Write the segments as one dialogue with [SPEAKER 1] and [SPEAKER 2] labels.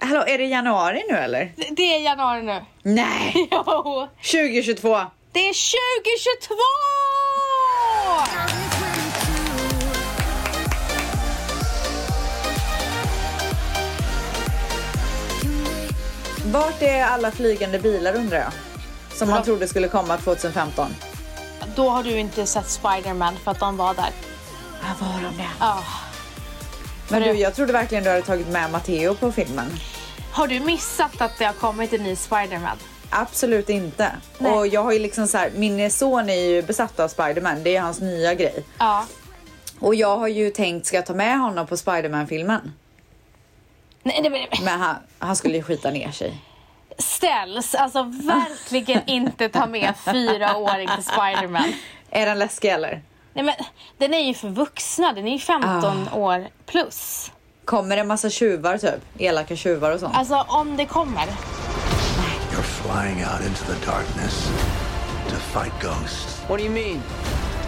[SPEAKER 1] Vadå, är det januari nu eller?
[SPEAKER 2] Det- Det är januari nu.
[SPEAKER 1] Nej!
[SPEAKER 2] Jo,
[SPEAKER 1] 2022!
[SPEAKER 2] det är 2022!
[SPEAKER 1] Vart är alla flygande bilar undrar jag? Som man
[SPEAKER 2] Ja.
[SPEAKER 1] trodde skulle komma 2015.
[SPEAKER 2] Då har du inte sett Spiderman för att de var där. Ah.
[SPEAKER 1] Ja, var de det?
[SPEAKER 2] Ja.
[SPEAKER 1] Men du, jag trodde verkligen du hade tagit med Matteo på filmen.
[SPEAKER 2] Har du missat att det har kommit en ny Spiderman?
[SPEAKER 1] Absolut inte.
[SPEAKER 2] Nej.
[SPEAKER 1] Och jag har ju liksom så här, min son är ju besatt av Spiderman, det är hans nya grej.
[SPEAKER 2] Ja.
[SPEAKER 1] Och jag har ju tänkt, ska jag ta med honom på Spiderman-filmen?
[SPEAKER 2] Nej, nej, nej.
[SPEAKER 1] Men han, han skulle ju skita ner sig.
[SPEAKER 2] Ställs, alltså verkligen inte ta med fyraåring till Spiderman.
[SPEAKER 1] Är den läskig eller?
[SPEAKER 2] Nej men, den är ju för vuxna, den är ju 15 år plus.
[SPEAKER 1] Kommer det en massa tjuvar typ? Elaka tjuvar och sånt?
[SPEAKER 2] Alltså om det kommer.
[SPEAKER 3] You're flying out into the darkness to fight ghosts.
[SPEAKER 4] What do you mean?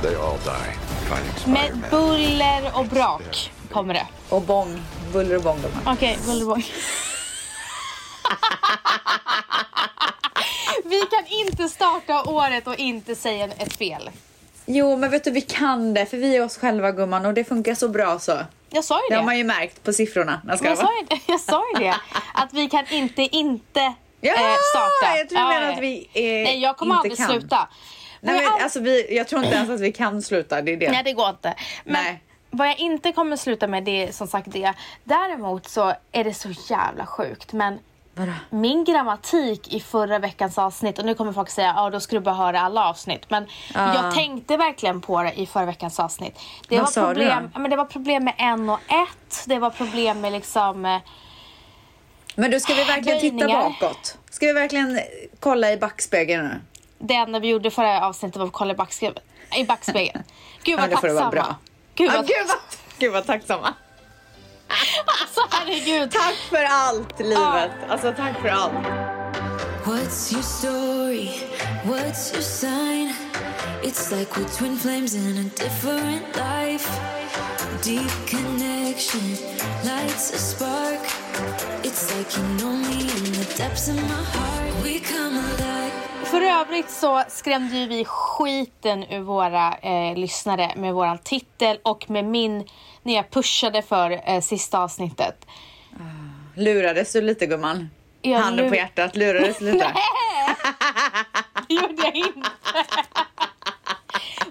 [SPEAKER 3] They all die fighting Spider
[SPEAKER 2] Med
[SPEAKER 3] Man.
[SPEAKER 2] buller och brak kommer det.
[SPEAKER 1] Och bång, buller och bång gumman.
[SPEAKER 2] Okej, buller Vi kan inte starta året och inte säga ett fel.
[SPEAKER 1] Jo men vet du vi kan det för vi är oss själva gumman och det funkar så bra så.
[SPEAKER 2] Jag sa ju
[SPEAKER 1] Det
[SPEAKER 2] det.
[SPEAKER 1] har man ju märkt på siffrorna. Jag ska
[SPEAKER 2] jag,
[SPEAKER 1] vara.
[SPEAKER 2] sa ju det. jag sa ju det. Att vi kan inte inte
[SPEAKER 1] Ja,
[SPEAKER 2] eh, starta.
[SPEAKER 1] jag tror du
[SPEAKER 2] Ja,
[SPEAKER 1] menar
[SPEAKER 2] ja.
[SPEAKER 1] att vi eh,
[SPEAKER 2] Nej, jag kommer
[SPEAKER 1] inte
[SPEAKER 2] aldrig
[SPEAKER 1] kan.
[SPEAKER 2] sluta.
[SPEAKER 1] Nej,
[SPEAKER 2] Vad
[SPEAKER 1] men,
[SPEAKER 2] jag all-
[SPEAKER 1] alltså, vi, jag tror inte ens att vi kan sluta, det är det.
[SPEAKER 2] Nej, det går inte. Men
[SPEAKER 1] Nej.
[SPEAKER 2] vad jag inte kommer sluta med det är som sagt det. Däremot så är det så jävla sjukt. Men
[SPEAKER 1] Vadå?
[SPEAKER 2] min grammatik i förra veckans avsnitt, och nu kommer folk säga ja då ska du bara höra alla avsnitt. Men jag tänkte verkligen på det i förra veckans avsnitt. Det,
[SPEAKER 1] Ah. Vad
[SPEAKER 2] var
[SPEAKER 1] sa du
[SPEAKER 2] problem,
[SPEAKER 1] då?
[SPEAKER 2] ja, men det var problem med en och ett. Det var problem med liksom... eh,
[SPEAKER 1] Men då ska vi verkligen titta
[SPEAKER 2] Böjningar.
[SPEAKER 1] bakåt. Ska vi verkligen eh, kolla i backspegeln nu?
[SPEAKER 2] Det enda vi gjorde förra avsnittet var att kolla i backspegeln. I backspegeln. Gud
[SPEAKER 1] Ja,
[SPEAKER 2] vad
[SPEAKER 1] det får det vara
[SPEAKER 2] tacksamma.
[SPEAKER 1] bra.
[SPEAKER 2] Gud
[SPEAKER 1] Ah,
[SPEAKER 2] vad
[SPEAKER 1] gud, vad, gud vad tacksamma.
[SPEAKER 2] alltså, herregud.
[SPEAKER 1] Tack för allt livet. Alltså tack för allt.
[SPEAKER 5] What's your story? What's your sign? It's like we're twin flames in a different life. Deep connection lights a spark. It's like you know me in the depths of my heart. We come alive.
[SPEAKER 2] För övrigt så skrämde ju vi skiten ur våra eh, lyssnare med våran titel och med min när jag pushade för eh, sista avsnittet.
[SPEAKER 1] Lurades du lite gumman?
[SPEAKER 2] Jag
[SPEAKER 1] Handen på
[SPEAKER 2] lur-
[SPEAKER 1] hjärtat, lurades du lite?
[SPEAKER 2] Det gjorde jag inte.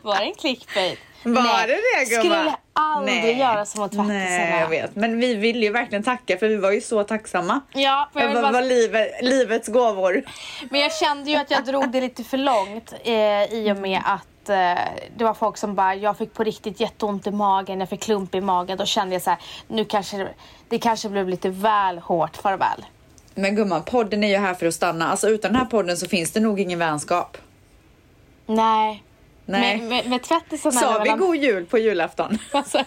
[SPEAKER 2] Var det en clickbait?
[SPEAKER 1] Var
[SPEAKER 2] Nej.
[SPEAKER 1] det det gumman?
[SPEAKER 2] Skulle aldrig
[SPEAKER 1] Nej.
[SPEAKER 2] göra så mot tvättisarna.
[SPEAKER 1] Nej, jag vet. Men vi vill ju verkligen tacka för vi var ju så tacksamma.
[SPEAKER 2] Ja, för jag vill
[SPEAKER 1] Vad var
[SPEAKER 2] bara,
[SPEAKER 1] livet, livets gåvor.
[SPEAKER 2] men jag kände ju att jag drog det lite för långt eh, i och med att eh, det var folk som bara, jag fick på riktigt jätteont i magen, jag fick klump i magen. Då kände jag så här, nu kanske det, det kanske blev lite väl hårt farväl.
[SPEAKER 1] Men gumman, podden är ju här för att stanna. Alltså utan den här podden så finns det nog ingen vänskap.
[SPEAKER 2] Nej.
[SPEAKER 1] Nej.
[SPEAKER 2] Med, med, med tvättisarna
[SPEAKER 1] Sa
[SPEAKER 2] eller
[SPEAKER 1] vi
[SPEAKER 2] mellan-
[SPEAKER 1] god jul på julafton?
[SPEAKER 2] Alltså,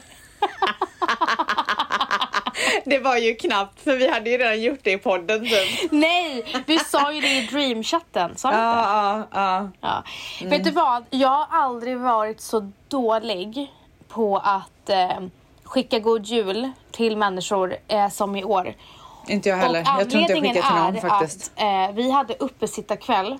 [SPEAKER 1] Det var ju knappt för vi hade ju redan gjort det i podden typ.
[SPEAKER 2] Nej, du sa ju det i dreamchatten, sa du inte?
[SPEAKER 1] Ja, ja, ja.
[SPEAKER 2] Ja. Vet du vad? Jag har aldrig varit så dålig på att eh, skicka god jul till människor eh, som i år.
[SPEAKER 1] Inte jag heller.
[SPEAKER 2] Och
[SPEAKER 1] Jag tror inte jag
[SPEAKER 2] anledningen
[SPEAKER 1] skickat till någon
[SPEAKER 2] är
[SPEAKER 1] faktiskt. Mm.
[SPEAKER 2] att eh, vi hade uppesittarkväll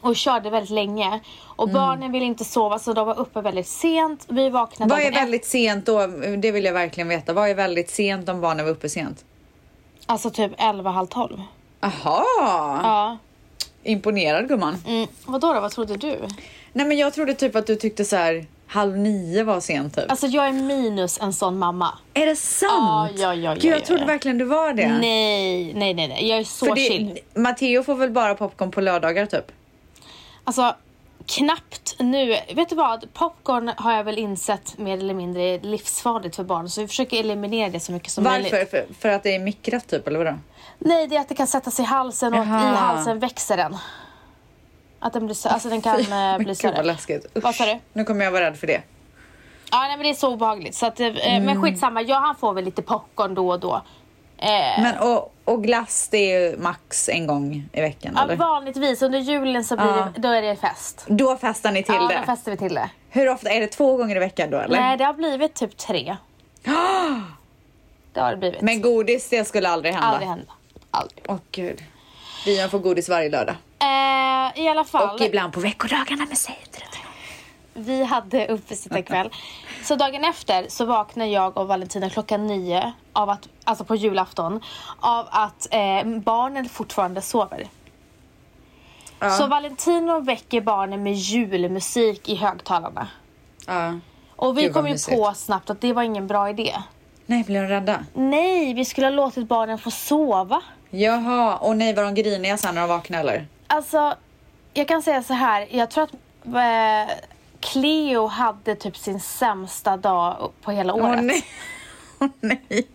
[SPEAKER 2] och körde väldigt länge. Och barnen ville inte sova så de var uppe väldigt sent. Vi vaknade
[SPEAKER 1] Vad är
[SPEAKER 2] dagen efter-
[SPEAKER 1] väldigt sent då? Det vill jag verkligen veta. Vad är väldigt sent om barnen var uppe sent?
[SPEAKER 2] Alltså typ 11, halv 12.
[SPEAKER 1] Aha!
[SPEAKER 2] Ja.
[SPEAKER 1] Imponerad gumman.
[SPEAKER 2] Mm. Vadå då? Vad trodde du?
[SPEAKER 1] Nej men jag trodde typ att du tyckte så här halv nio var sent typ.
[SPEAKER 2] Alltså jag är minus en sån mamma.
[SPEAKER 1] är det sant?
[SPEAKER 2] Ja, ja, ja,
[SPEAKER 1] Gud,
[SPEAKER 2] ja,
[SPEAKER 1] jag
[SPEAKER 2] ja,
[SPEAKER 1] trodde
[SPEAKER 2] ja.
[SPEAKER 1] verkligen du var det.
[SPEAKER 2] Nej, nej, nej, nej. Jag är så
[SPEAKER 1] För
[SPEAKER 2] chill.
[SPEAKER 1] det, Matteo får väl bara popcorn på lördagar typ?
[SPEAKER 2] Alltså knappt nu. Vet du vad? Popcorn har jag väl insett mer eller mindre är livsfarligt för barn. Så vi försöker eliminera det så mycket som
[SPEAKER 1] Varför?
[SPEAKER 2] möjligt. Eh,
[SPEAKER 1] För, för att det är mikrat typ eller vadå?
[SPEAKER 2] Nej, det är att det kan sätta sig i halsen och att
[SPEAKER 1] Jaha.
[SPEAKER 2] i halsen växer den. Att den, blir, stö- alltså, den kan
[SPEAKER 1] Fy,
[SPEAKER 2] eh,
[SPEAKER 1] men
[SPEAKER 2] bli
[SPEAKER 1] Gud vad
[SPEAKER 2] större.
[SPEAKER 1] läskigt.
[SPEAKER 2] Vad sa
[SPEAKER 1] Usch.
[SPEAKER 2] du?
[SPEAKER 1] Nu kommer jag vara rädd för det.
[SPEAKER 2] Ja, nej, men det är så obehagligt. Så att, eh,
[SPEAKER 1] Mm.
[SPEAKER 2] Men skitsamma, jag han får väl lite popcorn då och då. Eh,
[SPEAKER 1] Men och, och glass det är ju max en gång i veckan
[SPEAKER 2] ja,
[SPEAKER 1] eller?
[SPEAKER 2] vanligtvis under julen så blir det, då är det fest.
[SPEAKER 1] Då festar ni till
[SPEAKER 2] ja,
[SPEAKER 1] det.
[SPEAKER 2] då festar vi till det.
[SPEAKER 1] Hur ofta? Är det två gånger i veckan då eller?
[SPEAKER 2] Nej, det har blivit typ tre. det har det blivit.
[SPEAKER 1] Men godis, det skulle aldrig hända.
[SPEAKER 2] Aldrig hända. Aldrig.
[SPEAKER 1] Åh gud. Dion får godis varje lördag.
[SPEAKER 2] Eh, I alla fall.
[SPEAKER 1] Och ibland på veckodagarna med sig inte det.
[SPEAKER 2] Vi hade uppesittarkväll. Så dagen efter så vaknade jag och Valentina klockan nio, av att, alltså på julafton, av att eh, barnen fortfarande sover. Så Valentino väcker barnen med julmusik i högtalarna.
[SPEAKER 1] Ja.
[SPEAKER 2] Och vi
[SPEAKER 1] Gud, vad
[SPEAKER 2] kom ju
[SPEAKER 1] mysigt.
[SPEAKER 2] på snabbt att det var ingen bra idé.
[SPEAKER 1] Nej, blev de rädda?
[SPEAKER 2] Nej, vi skulle ha låtit barnen få sova.
[SPEAKER 1] Jaha, och nej var de griniga sen när de vaknade eller?
[SPEAKER 2] Alltså, jag kan säga så här. Jag tror att eh, Cleo hade typ sin sämsta dag på hela året.
[SPEAKER 1] Åh nej. Åh nej.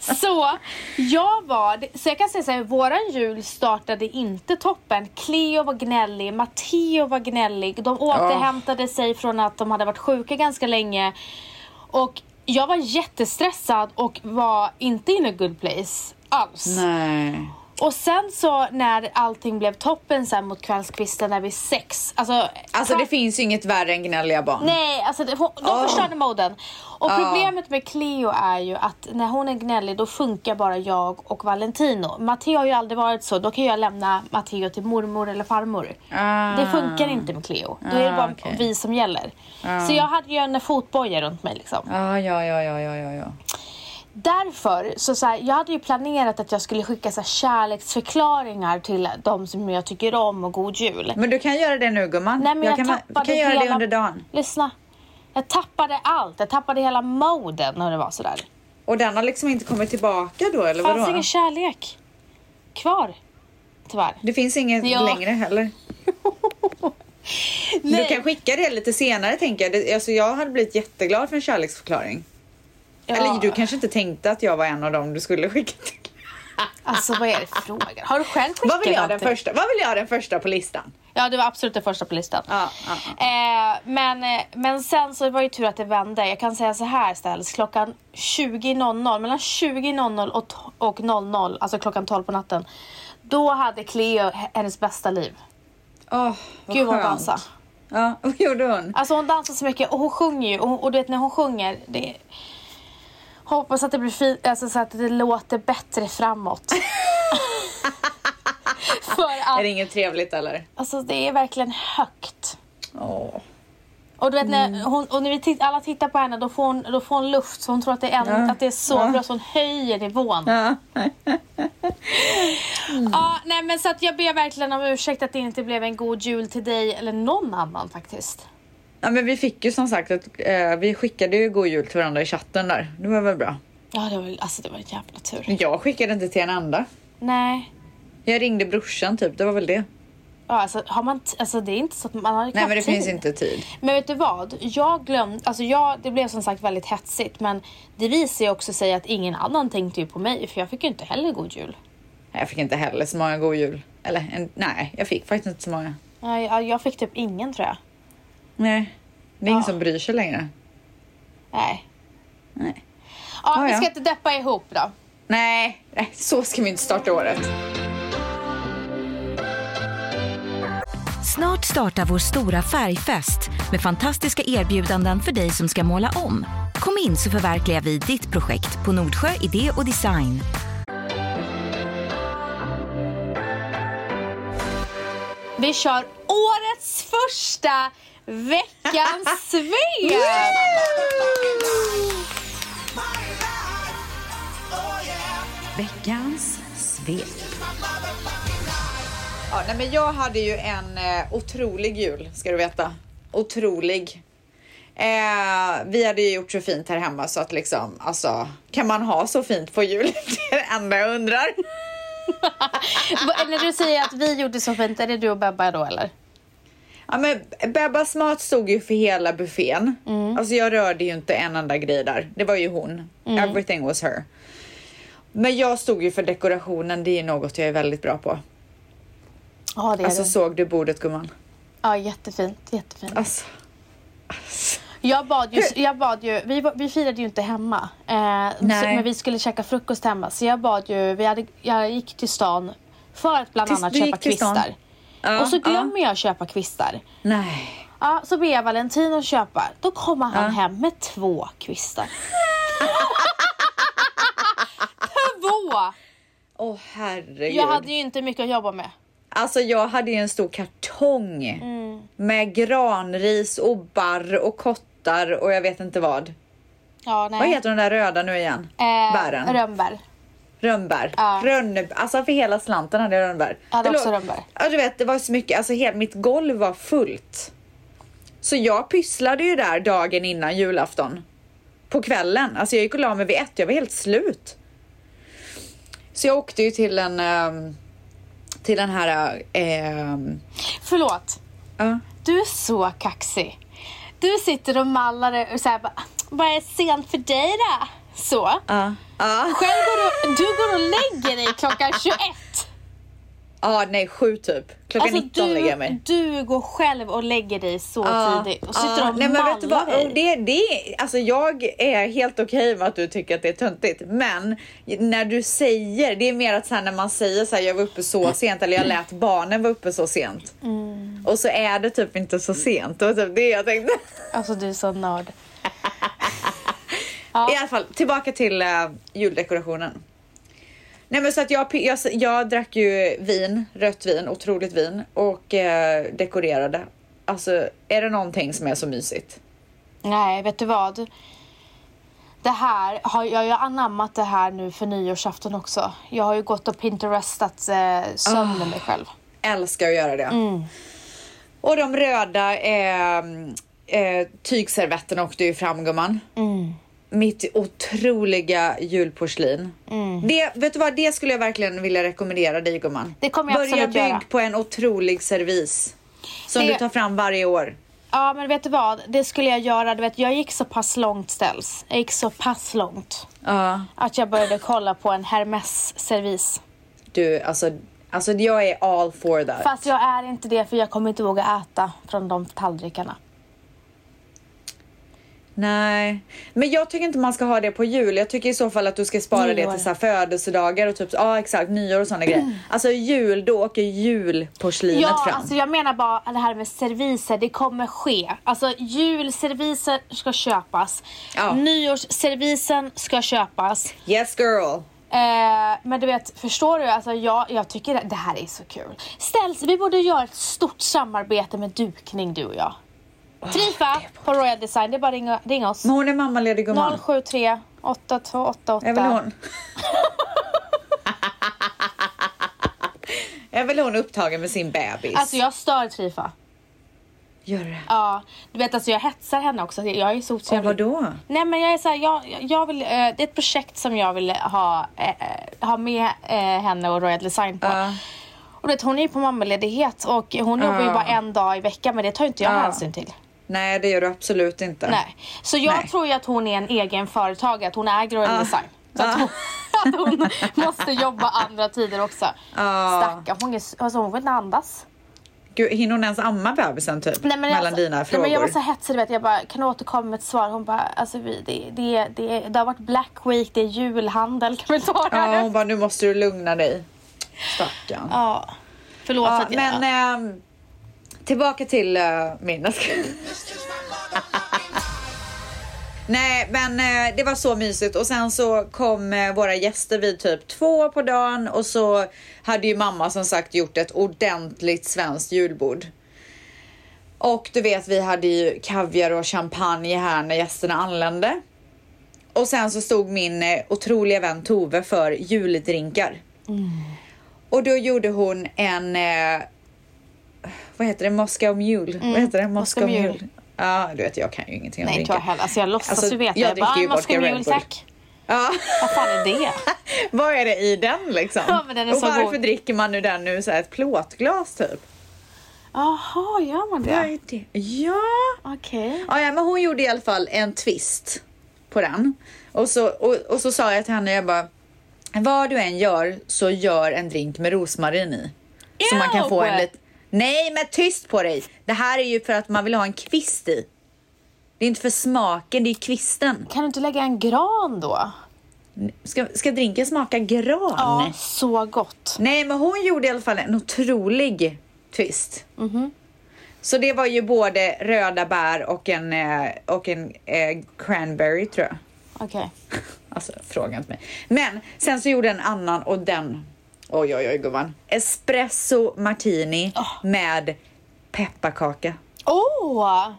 [SPEAKER 2] Så jag var, så jag kan säga så här, våran jul startade inte toppen. Cleo var gnällig, Matteo var gnällig. De återhämtade sig från att de hade varit sjuka ganska länge. Och jag var jättestressad och var inte in a good place alls.
[SPEAKER 1] Nej.
[SPEAKER 2] Och sen så när allting blev toppen sen mot kvällskvisten när vi sex, alltså...
[SPEAKER 1] Alltså det finns ju inget värre än gnälliga barn.
[SPEAKER 2] Nej, alltså det, hon,
[SPEAKER 1] Ah.
[SPEAKER 2] de förstörde moden. Och problemet med Cleo är ju att när hon är gnällig då funkar bara jag och Valentino. Matteo har ju aldrig varit så, då kan jag lämna Matteo till mormor eller farmor.
[SPEAKER 1] Ah.
[SPEAKER 2] Det funkar inte med Cleo. Då är det
[SPEAKER 1] Ah,
[SPEAKER 2] bara
[SPEAKER 1] okej.
[SPEAKER 2] vi som gäller. Så jag hade ju en fotboja runt mig liksom.
[SPEAKER 1] Ah, ja, ja, ja, ja, ja, ja.
[SPEAKER 2] Därför, så, så här, jag hade ju planerat att jag skulle skicka så här, kärleksförklaringar till de som jag tycker om och god jul.
[SPEAKER 1] Men du kan göra det nu gumman.
[SPEAKER 2] Nej, men jag,
[SPEAKER 1] kan,
[SPEAKER 2] tappade
[SPEAKER 1] kan göra
[SPEAKER 2] hela...
[SPEAKER 1] det under dagen.
[SPEAKER 2] Lyssna. Jag tappade allt. Jag tappade hela moden när det var sådär.
[SPEAKER 1] Och den har liksom inte kommit tillbaka då eller
[SPEAKER 2] Det fanns
[SPEAKER 1] vadå?
[SPEAKER 2] ingen kärlek kvar. Tyvärr.
[SPEAKER 1] Det finns inget
[SPEAKER 2] Ja.
[SPEAKER 1] längre heller. Du kan skicka det lite senare tänker jag. Det, alltså, jag hade blivit jätteglad för en kärleksförklaring.
[SPEAKER 2] Ja.
[SPEAKER 1] Eller du kanske inte tänkte att jag var en av dem du skulle skicka till.
[SPEAKER 2] Alltså vad är det för frågor? Har du själv skickat
[SPEAKER 1] Vad vill, jag den
[SPEAKER 2] någonting?
[SPEAKER 1] första, vad vill jag ha den första på listan?
[SPEAKER 2] Ja, det var absolut den första på listan.
[SPEAKER 1] Ja, ja,
[SPEAKER 2] Eh, men, eh, men sen så var det ju tur att det vände. Jag kan säga så här ställs klockan 20.00, mellan 20.00 och, to- och 00, alltså klockan 12 på natten. Då hade Cleo h- hennes bästa liv.
[SPEAKER 1] Åh, vad
[SPEAKER 2] Gud vad hon
[SPEAKER 1] skönt.
[SPEAKER 2] dansade.
[SPEAKER 1] Ja, vad gjorde hon?
[SPEAKER 2] Alltså hon dansar så mycket och hon sjunger ju och, hon- och du vet när hon sjunger det Hoppas att det blir fint, alltså så att det låter bättre framåt. För
[SPEAKER 1] Är det
[SPEAKER 2] att,
[SPEAKER 1] inget trevligt eller?
[SPEAKER 2] alltså det är verkligen högt.
[SPEAKER 1] Åh.
[SPEAKER 2] Och du vet när, hon, och när vi titt, alla tittar på henne då får hon, då får hon luft så hon tror att det är, en, att det är så bra så hon höjer nivån.
[SPEAKER 1] Ja.
[SPEAKER 2] Ja, nej men så att jag ber verkligen om ursäkt att det inte blev en god jul till dig eller någon annan faktiskt.
[SPEAKER 1] ja, men vi fick ju som sagt att eh, vi skickade ju god jul till varandra i chatten där. Det var väl bra.
[SPEAKER 2] Ja, det var, alltså det var en jävla tur.
[SPEAKER 1] Men Jag skickade inte till en enda.
[SPEAKER 2] Nej.
[SPEAKER 1] Jag ringde brorsan typ, det var väl det.
[SPEAKER 2] Ja, alltså, har man t- alltså, det är inte så att man har
[SPEAKER 1] Nej
[SPEAKER 2] knappt
[SPEAKER 1] men det
[SPEAKER 2] tid.
[SPEAKER 1] finns inte tid.
[SPEAKER 2] Men vet du vad? Jag glömde, alltså jag, det blev som sagt väldigt hetsigt men det visar ju också sig att ingen annan tänkte ju på mig för jag fick ju inte heller god jul.
[SPEAKER 1] Nej, Jag fick inte heller så många god jul. Eller en, nej, jag fick faktiskt inte så många.
[SPEAKER 2] Nej, Jag, jag fick typ ingen tror jag.
[SPEAKER 1] Nej, det är ingen som bryr sig längre.
[SPEAKER 2] Nej.
[SPEAKER 1] Nej.
[SPEAKER 2] Ja,
[SPEAKER 1] Ah,
[SPEAKER 2] vi
[SPEAKER 1] ja.
[SPEAKER 2] ska inte deppa ihop då.
[SPEAKER 1] Nej, nej, så ska vi inte starta året.
[SPEAKER 4] Snart startar vår stora färgfest med fantastiska erbjudanden för dig som ska måla om. Kom in så förverkligar vi ditt projekt på Nordsjö Idé och Design.
[SPEAKER 2] Vi kör årets första veckans svep!
[SPEAKER 1] Veckans svep. Ja, nej, men jag hade ju en eh, otrolig jul, ska du veta. Otrolig. Eh, vi hade ju gjort så fint här hemma så att liksom, alltså, kan man ha så fint på jul? Det är det enda jag undrar.
[SPEAKER 2] Va- När du säger att vi gjorde så fint, är det du och Bebba då eller?
[SPEAKER 1] Ja, men Bebbas mat stod ju för hela buffén.
[SPEAKER 2] Mm.
[SPEAKER 1] Alltså jag rörde ju inte en enda grej där. Det var ju hon.
[SPEAKER 2] Mm.
[SPEAKER 1] Everything was her. Men jag stod ju för dekorationen. Det är något jag är väldigt bra på.
[SPEAKER 2] Ja, det är
[SPEAKER 1] Alltså
[SPEAKER 2] du.
[SPEAKER 1] såg du bordet gumman?
[SPEAKER 2] Ja, jättefint, jättefint.
[SPEAKER 1] Alltså.
[SPEAKER 2] Jag bad ju, jag bad ju vi, var- vi firade ju inte hemma. Eh, så,
[SPEAKER 1] Nej.
[SPEAKER 2] men vi skulle käka frukost hemma. Så jag bad ju, vi hade, jag gick till stan för att bland
[SPEAKER 1] Tills
[SPEAKER 2] annat
[SPEAKER 1] du
[SPEAKER 2] köpa
[SPEAKER 1] gick till stan?
[SPEAKER 2] kvistar.
[SPEAKER 1] Ja,
[SPEAKER 2] och så
[SPEAKER 1] ja.
[SPEAKER 2] glömmer jag köpa kvistar.
[SPEAKER 1] Nej.
[SPEAKER 2] Ja, så ber jag Valentino köpa. Då kommer han hem med två kvistar. då?
[SPEAKER 1] Åh herregud.
[SPEAKER 2] Jag hade ju inte mycket att jobba med.
[SPEAKER 1] Alltså jag hade ju en stor kartong
[SPEAKER 2] Mm.
[SPEAKER 1] med granris och barr och kottar och jag vet inte vad.
[SPEAKER 2] Ja, nej.
[SPEAKER 1] Vad heter de där röda nu igen?
[SPEAKER 2] Eh,
[SPEAKER 1] Bären?
[SPEAKER 2] Rönnbär.
[SPEAKER 1] Rönnbär.
[SPEAKER 2] Ja.
[SPEAKER 1] Rönn... Alltså för hela slanten hade jag rönnbär.
[SPEAKER 2] Jag hade
[SPEAKER 1] Det
[SPEAKER 2] också
[SPEAKER 1] låg-
[SPEAKER 2] rönnbär.
[SPEAKER 1] Ja du vet, det var så mycket, alltså hela mitt golv var fullt. Så jag pysslade ju där dagen innan julafton. På kvällen. Alltså jag gick och la mig vid ett, jag var helt slut. Så jag åkte ju till en... ehm, Till den här... ehm,
[SPEAKER 2] Förlåt.
[SPEAKER 1] ja.
[SPEAKER 2] Du är så kaxig. Du sitter och mallar och säger vad är sent för dig då? Så.
[SPEAKER 1] Ja. Ja.
[SPEAKER 2] Själv går du, du går och lägger dig klockan 21.
[SPEAKER 1] Ja, nej, sju typ. Klockan 19 lägger jag mig.
[SPEAKER 2] Alltså, du, du går själv och lägger dig så
[SPEAKER 1] Ja,
[SPEAKER 2] tidigt och
[SPEAKER 1] ja,
[SPEAKER 2] sitter och
[SPEAKER 1] nej, men
[SPEAKER 2] mallar
[SPEAKER 1] vet du vad?
[SPEAKER 2] dig.
[SPEAKER 1] Det, det, alltså jag är helt okej med att du tycker att det är töntigt, men när du säger, det är mer att så här, när man säger så här, jag var uppe så sent eller jag lät barnen vara uppe så sent.
[SPEAKER 2] Mm.
[SPEAKER 1] Och så är det typ inte så sent. Det var typ det jag tänkte.
[SPEAKER 2] Alltså du är så nörd.
[SPEAKER 1] I alla fall, tillbaka till eh, juldekorationen. Nej men så att jag, jag, jag drack ju vin, rött vin, otroligt vin och eh, dekorerade. Alltså är det någonting som är så mysigt?
[SPEAKER 2] Nej, vet du vad? Det här, har, jag har ju anammat det här nu för nyårsafton också. Jag har ju gått och pinterestat eh, sömnen
[SPEAKER 1] Ah.
[SPEAKER 2] mig själv.
[SPEAKER 1] Älskar att göra det.
[SPEAKER 2] Mm.
[SPEAKER 1] Och de röda eh, eh, tygservetterna åkte ju fram gumman.
[SPEAKER 2] Mm.
[SPEAKER 1] Mitt otroliga julporslin.
[SPEAKER 2] Mm.
[SPEAKER 1] Det, vet du vad, det skulle jag verkligen vilja rekommendera dig gumman.
[SPEAKER 2] Det kommer jag
[SPEAKER 1] Börja
[SPEAKER 2] absolut
[SPEAKER 1] bygg
[SPEAKER 2] göra.
[SPEAKER 1] på en otrolig servis. Som
[SPEAKER 2] Det-
[SPEAKER 1] du tar fram varje år.
[SPEAKER 2] Ja, men vet du vad? Det skulle jag göra. Du vet, jag gick så pass långt ställs. Jag gick så pass långt
[SPEAKER 1] Ja.
[SPEAKER 2] att jag började kolla på en Hermes-servis.
[SPEAKER 1] Du, alltså, alltså jag är all for that.
[SPEAKER 2] Fast jag är inte det för jag kommer inte våga äta från de tallrikarna.
[SPEAKER 1] Nej, men jag tycker inte man ska ha det på jul. Jag tycker i så fall att du ska spara det
[SPEAKER 2] Nyår. Mm.
[SPEAKER 1] till så här födelsedagar och typ, ja ah, exakt, nyår och sådana grejer. Alltså jul, då åker julporslinet
[SPEAKER 2] Ja,
[SPEAKER 1] fram.
[SPEAKER 2] alltså jag menar bara det här med serviser, det kommer ske. Alltså julserviser ska köpas.
[SPEAKER 1] Ja.
[SPEAKER 2] Nyårsservisen ska köpas.
[SPEAKER 1] Yes girl!
[SPEAKER 2] Eh, men du vet, förstår du? Alltså jag, jag tycker det- det här är så kul. Ställs, vi borde göra ett stort samarbete med dukning du och jag. Trifa på Royal Design, det är bara att ringa, ringa oss.
[SPEAKER 1] Men hon är mammaledig gumman.
[SPEAKER 2] 073 8288.
[SPEAKER 1] Är väl hon? är väl hon upptagen med sin bebis?
[SPEAKER 2] Alltså jag stör Trifa.
[SPEAKER 1] Gör det?
[SPEAKER 2] Ja, du vet alltså jag hetsar henne också. Jag är så
[SPEAKER 1] Ja,
[SPEAKER 2] otrevlig.
[SPEAKER 1] vadå?
[SPEAKER 2] Nej men jag är så här, jag, jag- jag vill, eh, det är ett projekt som jag vill ha, eh, eh, ha med eh, henne och Royal Design på.
[SPEAKER 1] Ja.
[SPEAKER 2] Och du vet, hon är ju på mammaledighet och hon jobbar ju
[SPEAKER 1] Ja.
[SPEAKER 2] bara en dag i veckan men det tar ju inte jag
[SPEAKER 1] Ja.
[SPEAKER 2] hänsyn till.
[SPEAKER 1] Nej, det gör du absolut inte.
[SPEAKER 2] Nej. Så jag
[SPEAKER 1] Nej. Ah.
[SPEAKER 2] tror ju att hon är en egen företagare, att hon äger Royal
[SPEAKER 1] Ja.
[SPEAKER 2] Design. Så att
[SPEAKER 1] Ja.
[SPEAKER 2] hon, att hon måste jobba andra tider också.
[SPEAKER 1] Ja.
[SPEAKER 2] Stackarn, hon, är s- alltså hon vill inte andas.
[SPEAKER 1] Gud, hinner hon ens amma bebisen typ? Mellan
[SPEAKER 2] alltså-
[SPEAKER 1] dina frågor?
[SPEAKER 2] Nej, men jag var så hetsig, du vet. Jag bara, kan du återkomma med ett svar? Hon bara, alltså vi, det, det, det, det har varit Black Week, det är julhandel, kan vi ta det
[SPEAKER 1] Ja,
[SPEAKER 2] här
[SPEAKER 1] hon
[SPEAKER 2] nu?
[SPEAKER 1] bara, nu måste du lugna dig. Stackarn.
[SPEAKER 2] Ja. Förlåt
[SPEAKER 1] Ja,
[SPEAKER 2] att jag...
[SPEAKER 1] men ehm, tillbaka till eh, min... Jag ska- Nej, men eh, det var så mysigt och sen så kom eh, våra gäster vid typ två på dagen och så hade ju mamma som sagt gjort ett ordentligt svenskt julbord. Och du vet, vi hade ju kaviar och champagne här när gästerna anlände. Och sen så stod min eh, otroliga vän Tove för juldrinkar.
[SPEAKER 2] Mm.
[SPEAKER 1] Och då gjorde hon en, eh, vad heter det, Moscow Mule? vad heter det? Moscow,
[SPEAKER 2] Mm. Moscow Mule.
[SPEAKER 1] Mule. Ja, du vet jag kan ju ingenting om
[SPEAKER 2] Nej, inte
[SPEAKER 1] drinkar.
[SPEAKER 2] jag heller. Alltså jag låtsas
[SPEAKER 1] Alltså,
[SPEAKER 2] ju veta.
[SPEAKER 1] jag
[SPEAKER 2] Jag,
[SPEAKER 1] dricker ju
[SPEAKER 2] bara, ah,
[SPEAKER 1] vodka
[SPEAKER 2] ska
[SPEAKER 1] Red
[SPEAKER 2] mjul,
[SPEAKER 1] Bull."
[SPEAKER 2] tack.
[SPEAKER 1] Ja.
[SPEAKER 2] Vad fan är det?
[SPEAKER 1] Vad är det i den liksom?
[SPEAKER 2] Ja, men den är
[SPEAKER 1] och
[SPEAKER 2] så
[SPEAKER 1] varför
[SPEAKER 2] god.
[SPEAKER 1] dricker man nu den nu så här ett plåtglas typ?
[SPEAKER 2] Jaha, gör
[SPEAKER 1] Vad
[SPEAKER 2] man det?
[SPEAKER 1] är det? Ja.
[SPEAKER 2] Okej.
[SPEAKER 1] Ja, ja, men hon gjorde i alla fall en twist på den. Och så, och, och så sa jag till henne, jag bara, vad du än gör så gör en drink med rosmarin i. Så man kan få en
[SPEAKER 2] Ew!
[SPEAKER 1] lite... Nej, men tyst på dig! Det här är ju för att man vill ha en kvist i. Det är inte för smaken, det är kvisten.
[SPEAKER 2] Kan du inte lägga en gran då?
[SPEAKER 1] Ska, ska drinken smaka gran?
[SPEAKER 2] Ja, så gott.
[SPEAKER 1] Nej, men hon gjorde i alla fall en otrolig twist. Så det var ju både röda bär och en, eh, och en eh, cranberry tror jag.
[SPEAKER 2] Okej.
[SPEAKER 1] Ja, Alltså, fråga inte mig. Men sen så gjorde en annan och den, oj oj oj gumman. Espresso martini med pepparkaka.
[SPEAKER 2] Åh!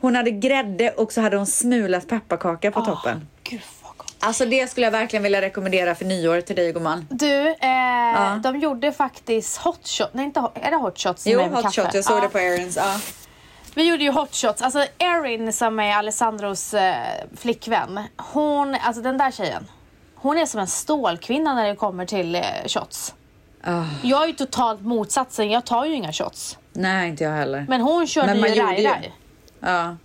[SPEAKER 1] Hon hade grädde och så hade hon smulat pepparkaka på toppen.
[SPEAKER 2] Gud vad gott.
[SPEAKER 1] Alltså det skulle jag verkligen vilja rekommendera för nyår till dig gumman.
[SPEAKER 2] Du, eh, de gjorde faktiskt hot shots. Nej, inte hot, är det hot shots? som
[SPEAKER 1] Jo,
[SPEAKER 2] är med
[SPEAKER 1] hot
[SPEAKER 2] kaffe? Ah.
[SPEAKER 1] shot. Jag såg
[SPEAKER 2] Ja.
[SPEAKER 1] det på Ah. Aarons. Ja.
[SPEAKER 2] Vi gjorde ju hot shots. Alltså Erin som är Alessandros eh, flickvän. Hon, alltså den där tjejen. Hon är som en stålkvinna när det kommer till eh, shots.
[SPEAKER 1] Ah.
[SPEAKER 2] Jag är ju totalt motsatsen. Jag tar ju inga shots.
[SPEAKER 1] Nej, inte jag heller.
[SPEAKER 2] Men hon körde
[SPEAKER 1] Men man
[SPEAKER 2] ju
[SPEAKER 1] gjorde ju.
[SPEAKER 2] raj-raj.
[SPEAKER 1] Ja.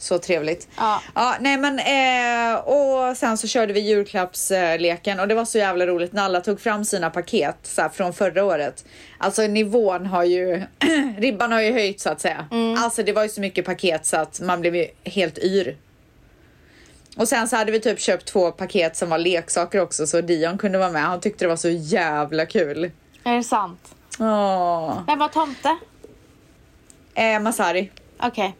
[SPEAKER 1] Så trevligt.
[SPEAKER 2] Ja.
[SPEAKER 1] nej men, eh, och sen så körde vi julklappsleken och det var så jävla roligt när alla tog fram sina paket så här, från förra året. Alltså nivån har ju, ribban har ju höjt så att säga. Alltså det var ju så mycket paket så att man blev ju helt yr. Och sen så hade vi typ köpt två paket som var leksaker också så Dion kunde vara med. Han tyckte det var så jävla kul.
[SPEAKER 2] Är det sant?
[SPEAKER 1] Åh.
[SPEAKER 2] Vem var tomte?
[SPEAKER 1] Eh, Masari.
[SPEAKER 2] Okej.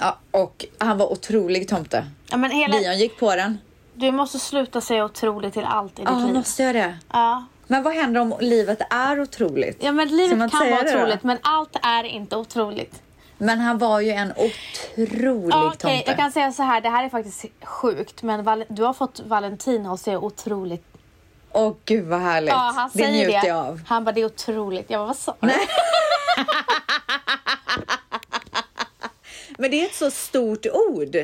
[SPEAKER 1] Ja, och han var otrolig tomte.
[SPEAKER 2] Ja, men hela...
[SPEAKER 1] Dion gick på den.
[SPEAKER 2] Du måste sluta säga otroligt till allt i ditt
[SPEAKER 1] Ja,
[SPEAKER 2] liv.
[SPEAKER 1] måste jag det?
[SPEAKER 2] Ja.
[SPEAKER 1] Men vad händer om livet är otroligt?
[SPEAKER 2] ja, men
[SPEAKER 1] Ska man
[SPEAKER 2] livet kan
[SPEAKER 1] säga
[SPEAKER 2] vara
[SPEAKER 1] det då?
[SPEAKER 2] otroligt men allt är inte otroligt.
[SPEAKER 1] Men han var ju en otrolig
[SPEAKER 2] Ja, okej,
[SPEAKER 1] tomte.
[SPEAKER 2] jag kan säga så här, det här är faktiskt sjukt men val- du har fått Valentina att säga otroligt.
[SPEAKER 1] Åh gud vad härligt.
[SPEAKER 2] Ja, han
[SPEAKER 1] det
[SPEAKER 2] säger
[SPEAKER 1] njuter
[SPEAKER 2] det.
[SPEAKER 1] jag av.
[SPEAKER 2] Han bara, det är otroligt. Jag bara, vad sa du?
[SPEAKER 1] Men det är ett så stort ord.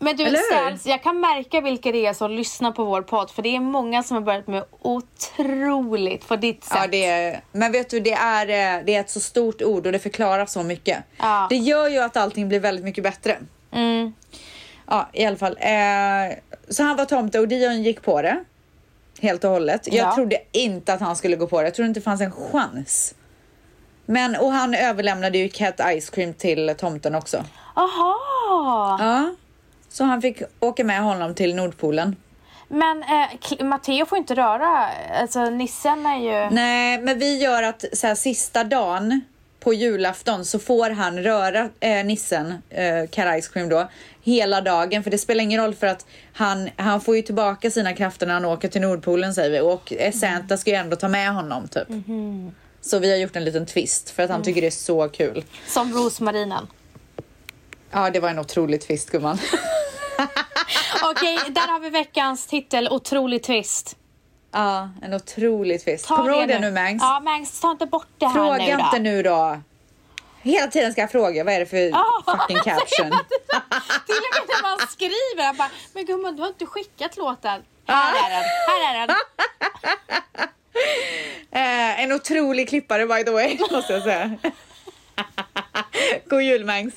[SPEAKER 2] Men du,
[SPEAKER 1] Eller hur?
[SPEAKER 2] Stans, jag kan märka vilka det är som lyssnar på vår podd för det är många som har börjat med otroligt på ditt sätt.
[SPEAKER 1] Ja, det är, men vet du, det är, eh, det är ett så stort ord och det förklarar så mycket.
[SPEAKER 2] Ja.
[SPEAKER 1] Det gör ju att allting blir väldigt mycket bättre.
[SPEAKER 2] Mm.
[SPEAKER 1] Ja, i alla fall. Eh, så han var tomte och Dion gick på det. Helt och hållet. Jag
[SPEAKER 2] Ja.
[SPEAKER 1] trodde inte att han skulle gå på det. Jag trodde inte det fanns en chans. Men, och han överlämnade ju Cat Ice Cream till tomten också.
[SPEAKER 2] Aha!
[SPEAKER 1] Ja. Så han fick åka med honom till Nordpolen.
[SPEAKER 2] Men eh, Cl- Matteo får inte röra, alltså nissen är ju...
[SPEAKER 1] Nej, men vi gör att så här, sista dagen på julafton så får han röra eh, nissen, eh, Cat Ice Cream då, hela dagen. För det spelar ingen roll för att han, han får ju tillbaka sina krafter när han åker till Nordpolen säger vi. Och eh, Santa ska ju ändå ta med honom typ.
[SPEAKER 2] Mhm.
[SPEAKER 1] Så vi har gjort en liten twist för att han tycker det är så kul.
[SPEAKER 2] Som rosmarinen.
[SPEAKER 1] Ja, det var en otrolig twist gumman.
[SPEAKER 2] Okej, där har vi veckans titel, otrolig twist.
[SPEAKER 1] ja, en otrolig twist.
[SPEAKER 2] Ta
[SPEAKER 1] Kommer du ihåg det nu Mangs?
[SPEAKER 2] Ja, Mangs, ta inte bort det här
[SPEAKER 1] Fråga
[SPEAKER 2] nu då.
[SPEAKER 1] inte nu då. Hela tiden ska jag fråga, vad är det för fucking caption?
[SPEAKER 2] Till och med när man skriver, jag bara, men gumman du har inte skickat låten. Här är den, här är den.
[SPEAKER 1] Eh, en otrolig klippare by the way, måste jag säga. God jul Mangs.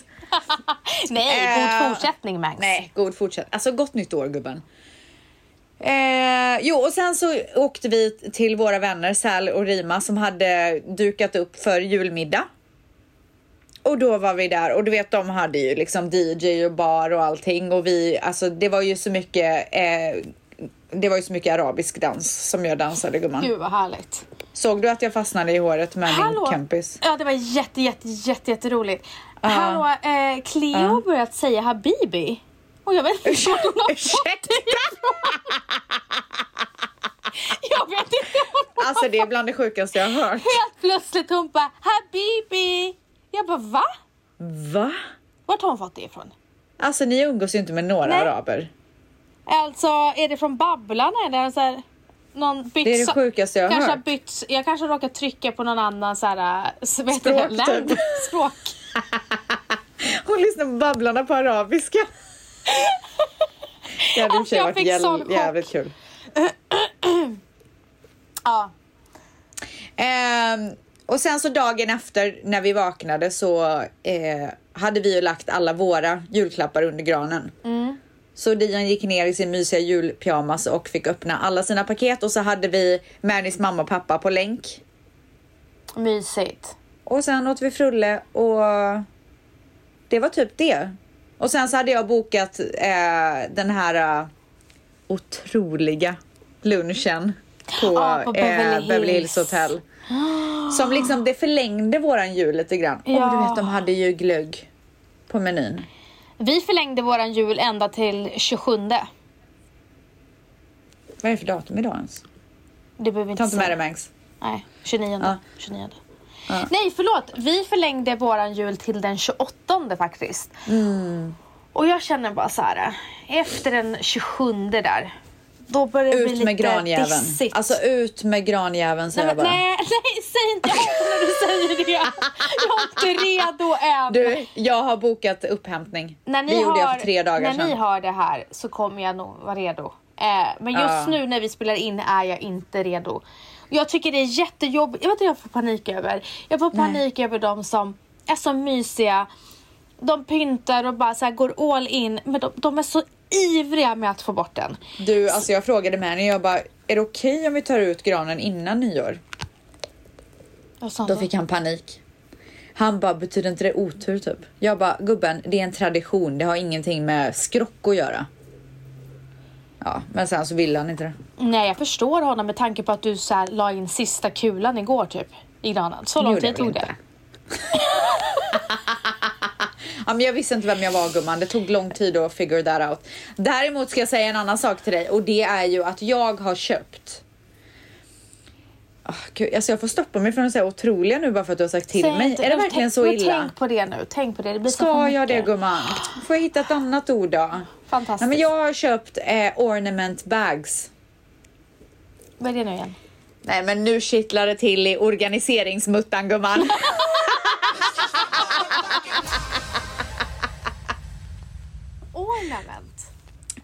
[SPEAKER 2] Nej,
[SPEAKER 1] Eh,
[SPEAKER 2] god fortsättning Mangs.
[SPEAKER 1] Nej, god fortsätt. Alltså gott nytt år gubben. Eh, jo, och sen så åkte vi till våra vänner Sal och Rima som hade dukat upp för julmiddag. Och då var vi där och du vet de hade ju liksom DJ och bar och allting och vi, alltså det var ju så mycket, eh, det var ju så mycket arabisk dans som jag dansade gumman.
[SPEAKER 2] Gud vad härligt.
[SPEAKER 1] Såg du att jag fastnade i håret med
[SPEAKER 2] Hallå.
[SPEAKER 1] min kompis?
[SPEAKER 2] Ja, det var jätte, jätte, jätte, jätteroligt. Hallå, eh, Cleo har börjat säga habibi. Och jag vet inte vart hon har fått det ifrån. Jag vet inte vart hon
[SPEAKER 1] Alltså det är bland det sjukaste jag har hört.
[SPEAKER 2] Helt plötsligt hon bara Habibi! Jag bara va?
[SPEAKER 1] Va?
[SPEAKER 2] Vart har hon fått det ifrån?
[SPEAKER 1] Alltså ni umgås ju inte med några
[SPEAKER 2] Nej.
[SPEAKER 1] araber.
[SPEAKER 2] Alltså är det från Babblarna eller så här, någon bytt
[SPEAKER 1] Det är det
[SPEAKER 2] sa-
[SPEAKER 1] sjukaste jag har
[SPEAKER 2] kanske
[SPEAKER 1] hört.
[SPEAKER 2] bytt, jag kanske råkar trycka på någon annan så här, äh, s- vad heter
[SPEAKER 1] Språk,
[SPEAKER 2] det? Land-
[SPEAKER 1] typ.
[SPEAKER 2] Språk.
[SPEAKER 1] Hon lyssnar på Babblarna på arabiska. Det hade i och för sig
[SPEAKER 2] jag
[SPEAKER 1] varit
[SPEAKER 2] fick sån chock.
[SPEAKER 1] jäl- jävligt kul.
[SPEAKER 2] Ja.
[SPEAKER 1] Ehm, och sen så dagen efter när vi vaknade så eh, hade vi ju lagt alla våra julklappar under granen.
[SPEAKER 2] Mm.
[SPEAKER 1] Så Dion gick ner i sin mysiga julpyjamas och fick öppna alla sina paket och så hade vi Mannys mamma och pappa på länk.
[SPEAKER 2] Mysigt.
[SPEAKER 1] Och sen åt vi frulle och det var typ det. Och sen så hade jag bokat eh, den här eh, otroliga lunchen på, eh,
[SPEAKER 2] Ah, på Beverly Hills.
[SPEAKER 1] Beverly Hills Hotel. Som liksom, det förlängde våran jul lite grann. Ja. Och du
[SPEAKER 2] Ja.
[SPEAKER 1] vet, de hade ju glögg på menyn.
[SPEAKER 2] Vi förlängde våran jul ända till 27.
[SPEAKER 1] Vad är det för datum idag ens?
[SPEAKER 2] Du behöver inte
[SPEAKER 1] Ta inte med
[SPEAKER 2] säga.
[SPEAKER 1] dig Mangs.
[SPEAKER 2] Nej, 29.
[SPEAKER 1] Ja.
[SPEAKER 2] 29. Nej, förlåt. Vi förlängde våran jul till den 28 faktiskt.
[SPEAKER 1] Mm.
[SPEAKER 2] Och jag känner bara så här, efter den 27 där, då börjar det bli
[SPEAKER 1] Ut
[SPEAKER 2] lite
[SPEAKER 1] med granjäveln.
[SPEAKER 2] dissigt.
[SPEAKER 1] Alltså ut med granjäveln
[SPEAKER 2] Nej,
[SPEAKER 1] säger jag
[SPEAKER 2] men,
[SPEAKER 1] bara.
[SPEAKER 2] nej, nej, säg inte allt när du säger det. Jag är inte redo än.
[SPEAKER 1] Du, jag har bokat upphämtning.
[SPEAKER 2] när ni
[SPEAKER 1] det gjorde
[SPEAKER 2] har,
[SPEAKER 1] jag för tre dagar
[SPEAKER 2] När ni
[SPEAKER 1] sedan.
[SPEAKER 2] har det här så kommer jag nog vara redo. Eh, men just
[SPEAKER 1] Ja.
[SPEAKER 2] nu när vi spelar in är jag inte redo. Jag tycker det är jättejobbigt. Jag vet inte jag får panik över. Jag får panik över de som är så mysiga. De pyntar och bara så här går all in. Men de, de är så ivriga med att få bort den.
[SPEAKER 1] Du, alltså jag frågade med henne, jag bara, är det okej om vi tar ut granen innan nyår?
[SPEAKER 2] Och sånt.
[SPEAKER 1] Då fick han panik. Han bara, betyder inte det otur typ? Jag bara, gubben, det är en tradition. Det har ingenting med skrock att göra. Ja, men sen så ville han inte det.
[SPEAKER 2] Nej, jag förstår honom med tanke på att du så här, la in sista kulan igår typ. I granen. Så lång
[SPEAKER 1] gjorde
[SPEAKER 2] tid
[SPEAKER 1] jag
[SPEAKER 2] tog
[SPEAKER 1] väl
[SPEAKER 2] det.
[SPEAKER 1] inte. Ja, men jag visste inte vem jag var gumman. Det tog lång tid att figure that out. Däremot ska jag säga en annan sak till dig och det är ju att jag har köpt. Ah, Gud, alltså jag får stoppa mig från att säga otroliga nu bara för att du har sagt till
[SPEAKER 2] Säg
[SPEAKER 1] mig.
[SPEAKER 2] inte-
[SPEAKER 1] Är det
[SPEAKER 2] men
[SPEAKER 1] verkligen
[SPEAKER 2] tänk,
[SPEAKER 1] så
[SPEAKER 2] men
[SPEAKER 1] illa?
[SPEAKER 2] Tänk på det nu. Tänk på det. det blir så för
[SPEAKER 1] Ska jag det
[SPEAKER 2] mycket.
[SPEAKER 1] gumman? Får jag hitta ett annat ord då?
[SPEAKER 2] Fantastiskt.
[SPEAKER 1] Nej, men jag har köpt eh, ornament bags.
[SPEAKER 2] Vad är det nu igen?
[SPEAKER 1] Nej men nu kittlar det till i organiseringsmuttan gumman.
[SPEAKER 2] Ornament.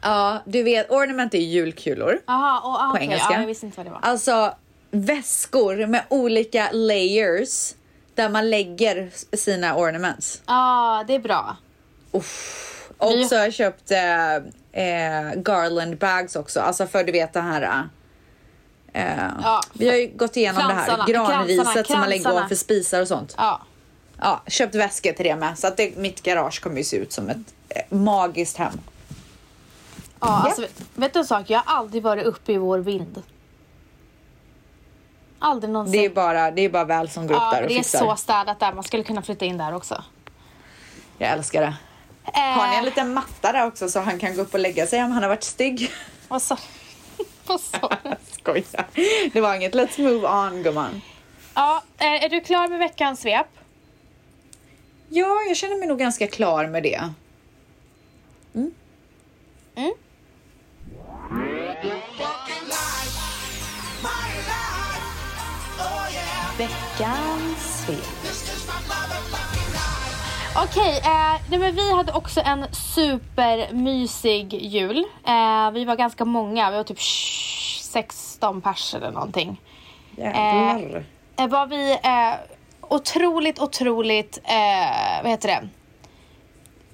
[SPEAKER 1] ja, du vet ornament är julkulor.
[SPEAKER 2] Jaha, och ah,
[SPEAKER 1] på
[SPEAKER 2] okej.
[SPEAKER 1] engelska.
[SPEAKER 2] Ja, jag visste inte vad det var.
[SPEAKER 1] Alltså väskor med olika layers där man lägger s- sina ornaments.
[SPEAKER 2] ah, det är bra.
[SPEAKER 1] Och
[SPEAKER 2] Vi-
[SPEAKER 1] så har jag köpt eh, eh, garland bags också, alltså för du vet det här. Eh,
[SPEAKER 2] Ja,
[SPEAKER 1] vi har ju gått igenom
[SPEAKER 2] kransarna,
[SPEAKER 1] det här granriset
[SPEAKER 2] kransarna,
[SPEAKER 1] som man lägger
[SPEAKER 2] kransarna.
[SPEAKER 1] ovanför spisar och sånt.
[SPEAKER 2] Ja.
[SPEAKER 1] Ja, köpt väskor till det med så att det, mitt garage kommer ju se ut som ett eh, magiskt hem.
[SPEAKER 2] Ja, alltså, vet- vet du en sak? Jag har aldrig varit uppe i vår vind. Aldrig någonsin.
[SPEAKER 1] Det är bara, det är bara väl som går upp
[SPEAKER 2] Ja,
[SPEAKER 1] där och
[SPEAKER 2] det är
[SPEAKER 1] fixar.
[SPEAKER 2] så städat där. Man skulle kunna flytta in där också. Eh,
[SPEAKER 1] Jag älskar det. Har ni en liten matta där också så han kan gå upp och lägga sig om han har varit stygg?
[SPEAKER 2] Vad sa Vad sa du?
[SPEAKER 1] Skoja. Det var inget. Let's move on gumman.
[SPEAKER 2] Ja, eh, är du klar med veckans svep?
[SPEAKER 1] Ja, jag känner mig nog ganska klar med det.
[SPEAKER 2] Veckans svep. Okej, eh, nej men vi hade också en supermysig jul. Eh, vi var ganska många, vi var typ 16 pers eller någonting.
[SPEAKER 1] Jävlar.
[SPEAKER 2] Eh, var vi eh, otroligt, otroligt, eh, vad heter det?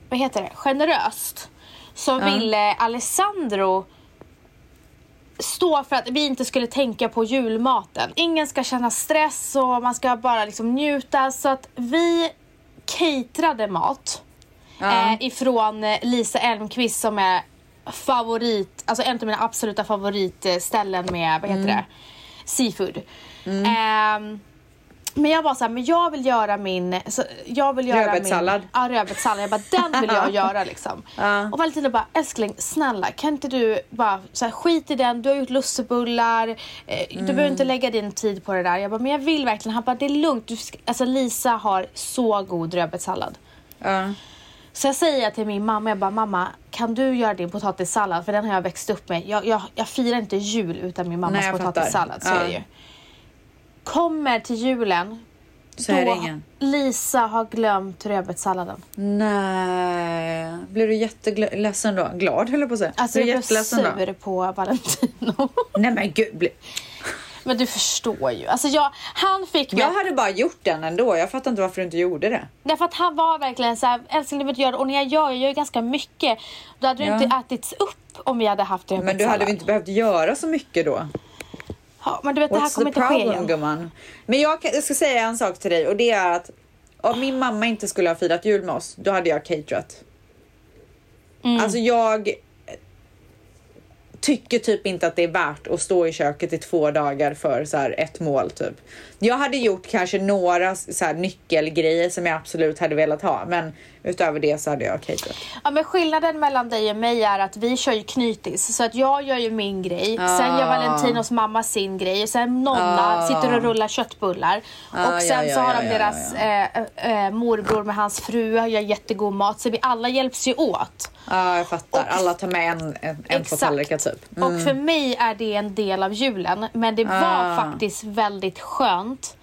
[SPEAKER 2] Vad heter det? Generöst. Så ville Alessandro stå för att vi inte skulle tänka på julmaten. Ingen ska känna stress och man ska bara liksom njuta. Så att vi caterade mat eh, ifrån eh, Lisa Elmqvist som är favorit, alltså en av mina absoluta favoritställen med, vad heter det, seafood. Ehm, men jag bara såhär, men jag vill göra min... Så jag vill göra
[SPEAKER 1] Rödbetssallad.
[SPEAKER 2] Min, ja, rödbetssallad. Jag bara, den vill jag göra liksom. Och Valentina bara, älskling snälla kan inte du bara så här, skit i den, du har gjort lussebullar, eh, du behöver inte lägga din tid på det där. Jag bara, men jag vill verkligen. Han bara, det är lugnt. Du ska, alltså Lisa har så god rödbetssallad.
[SPEAKER 1] Ja.
[SPEAKER 2] Så jag säger till min mamma, jag bara mamma kan du göra din potatissallad för den har jag växt upp med. Jag, jag, jag firar inte jul utan min mammas
[SPEAKER 1] Nej, jag fattar.
[SPEAKER 2] potatissallad, så
[SPEAKER 1] Ja.
[SPEAKER 2] är det ju. Kommer till julen,
[SPEAKER 1] Så är det
[SPEAKER 2] då
[SPEAKER 1] ingen.
[SPEAKER 2] Lisa har glömt rödbetssalladen.
[SPEAKER 1] Nej. Blir du jätteledsen då? Glad höll jag på att säga.
[SPEAKER 2] Alltså
[SPEAKER 1] blir
[SPEAKER 2] jag
[SPEAKER 1] du
[SPEAKER 2] blev
[SPEAKER 1] jätteledsen
[SPEAKER 2] sur
[SPEAKER 1] då?
[SPEAKER 2] på Valentino.
[SPEAKER 1] Nej men gud. bli-
[SPEAKER 2] Men du förstår ju. Alltså jag, han fick mig
[SPEAKER 1] Jag hade bara gjort den ändå. Jag fattar inte varför du inte gjorde det.
[SPEAKER 2] Därför att han var verkligen så här, älskling du vet göra det. och när jag gör, jag gör ganska mycket. Då hade
[SPEAKER 1] Ja.
[SPEAKER 2] du inte ätits upp om vi hade haft rödbetssallad.
[SPEAKER 1] Men du hade väl inte behövt göra så mycket då?
[SPEAKER 2] ja, men du vet det här
[SPEAKER 1] What's
[SPEAKER 2] kommer
[SPEAKER 1] the
[SPEAKER 2] inte ske
[SPEAKER 1] problem
[SPEAKER 2] igen.
[SPEAKER 1] gumman? Men jag, kan, jag ska säga en sak till dig och det är att om min mamma inte skulle ha firat jul med oss, då hade jag caterat.
[SPEAKER 2] Mm.
[SPEAKER 1] Alltså jag eh, tycker typ inte att det är värt att stå i köket i två dagar för så här ett mål typ. Jag hade gjort kanske några s- så här nyckelgrejer som jag absolut hade velat ha, men Utöver det så hade jag caterat.
[SPEAKER 2] Ja, men skillnaden mellan dig och mig är att vi kör ju knytis. Så att jag gör ju min grej. Sen
[SPEAKER 1] Ah.
[SPEAKER 2] gör Valentinos mamma sin grej. Och sen Nonna sitter och rullar köttbullar.
[SPEAKER 1] ja,
[SPEAKER 2] och sen
[SPEAKER 1] Ah. ja,
[SPEAKER 2] så har
[SPEAKER 1] ja,
[SPEAKER 2] de
[SPEAKER 1] ja,
[SPEAKER 2] deras Eh, eh, morbror med hans fru och gör jättegod mat. Så vi alla hjälps ju åt.
[SPEAKER 1] Ja, jag fattar. Alla tar med en, en, en två tallrikar typ.
[SPEAKER 2] Och för mig är det en del av julen. Men det
[SPEAKER 1] Ah.
[SPEAKER 2] var faktiskt väldigt skönt.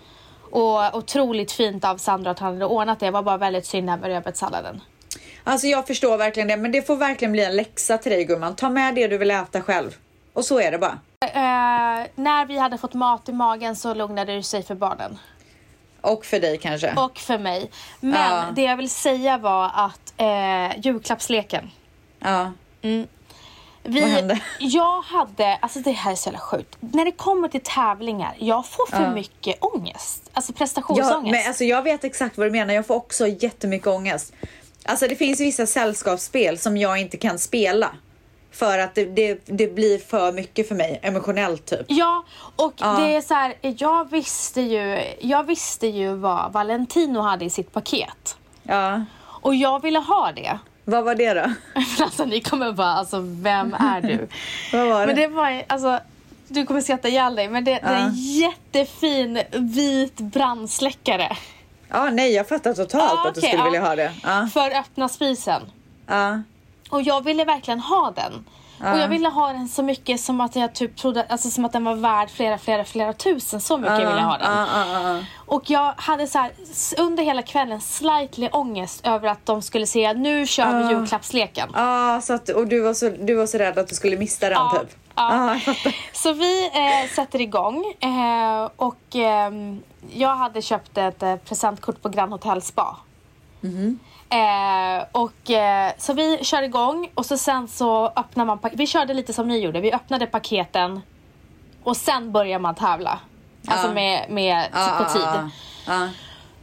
[SPEAKER 2] Och otroligt fint av Sandra att han hade ordnat det. Det var bara väldigt synd det här med rödbetssalladen.
[SPEAKER 1] Alltså jag förstår verkligen det, men det får verkligen bli en läxa till dig gumman. Ta med det du vill äta själv. Och så är det bara.
[SPEAKER 2] Eh, när vi hade fått mat i magen så lugnade det sig för barnen.
[SPEAKER 1] Och för dig kanske.
[SPEAKER 2] Och för mig. Men
[SPEAKER 1] Ja.
[SPEAKER 2] det jag vill säga var att eh, julklappsleken.
[SPEAKER 1] Ja.
[SPEAKER 2] Vi,
[SPEAKER 1] Vad hände?
[SPEAKER 2] Jag hade, alltså det här är så jävla sjukt. När det kommer till tävlingar, jag får för mycket ångest. Alltså
[SPEAKER 1] Ja,
[SPEAKER 2] prestationsångest.
[SPEAKER 1] men alltså jag vet exakt vad du menar. Jag får också jättemycket ångest. Alltså det finns vissa sällskapsspel som jag inte kan spela. För att det, det, det blir för mycket för mig emotionellt typ.
[SPEAKER 2] Ja, och det är så här, jag visste ju, jag visste ju vad Valentino hade i sitt paket.
[SPEAKER 1] Ja.
[SPEAKER 2] Och jag ville ha det.
[SPEAKER 1] Vad var det då?
[SPEAKER 2] Men alltså ni kommer bara, alltså vem är du?
[SPEAKER 1] Vad var det?
[SPEAKER 2] Men det var, alltså, du kommer skratta ihjäl dig, men det, det är en jättefin vit brandsläckare.
[SPEAKER 1] Ja, nej jag fattar totalt
[SPEAKER 2] Ja,
[SPEAKER 1] att du
[SPEAKER 2] okej,
[SPEAKER 1] skulle
[SPEAKER 2] ja.
[SPEAKER 1] vilja ha det. Ja.
[SPEAKER 2] För öppna spisen.
[SPEAKER 1] Ja.
[SPEAKER 2] Och jag ville verkligen ha den. Och jag ville ha den så mycket som att jag typ trodde, alltså som att den var värd flera, flera, flera tusen. Så mycket ville jag ha den.
[SPEAKER 1] Ja, ja, ja.
[SPEAKER 2] Och jag hade så här, s- under hela kvällen slightly ångest över att de skulle säga nu kör vi julklappsleken.
[SPEAKER 1] Ja, så att, och du var, så, du var så rädd att du skulle missa den
[SPEAKER 2] Ja,
[SPEAKER 1] typ?
[SPEAKER 2] ja.
[SPEAKER 1] jag fattar.
[SPEAKER 2] Så vi eh, sätter igång eh, och ehm, jag hade köpt ett eh, presentkort på Grand Hotel Spa.
[SPEAKER 1] Mm-hmm.
[SPEAKER 2] Eh, och, eh, så vi kör igång och så sen så öppnar man pa- Vi körde lite som ni gjorde, vi öppnade paketen och sen börjar man tävla. Alltså med, med Alltså, på tid.
[SPEAKER 1] ja.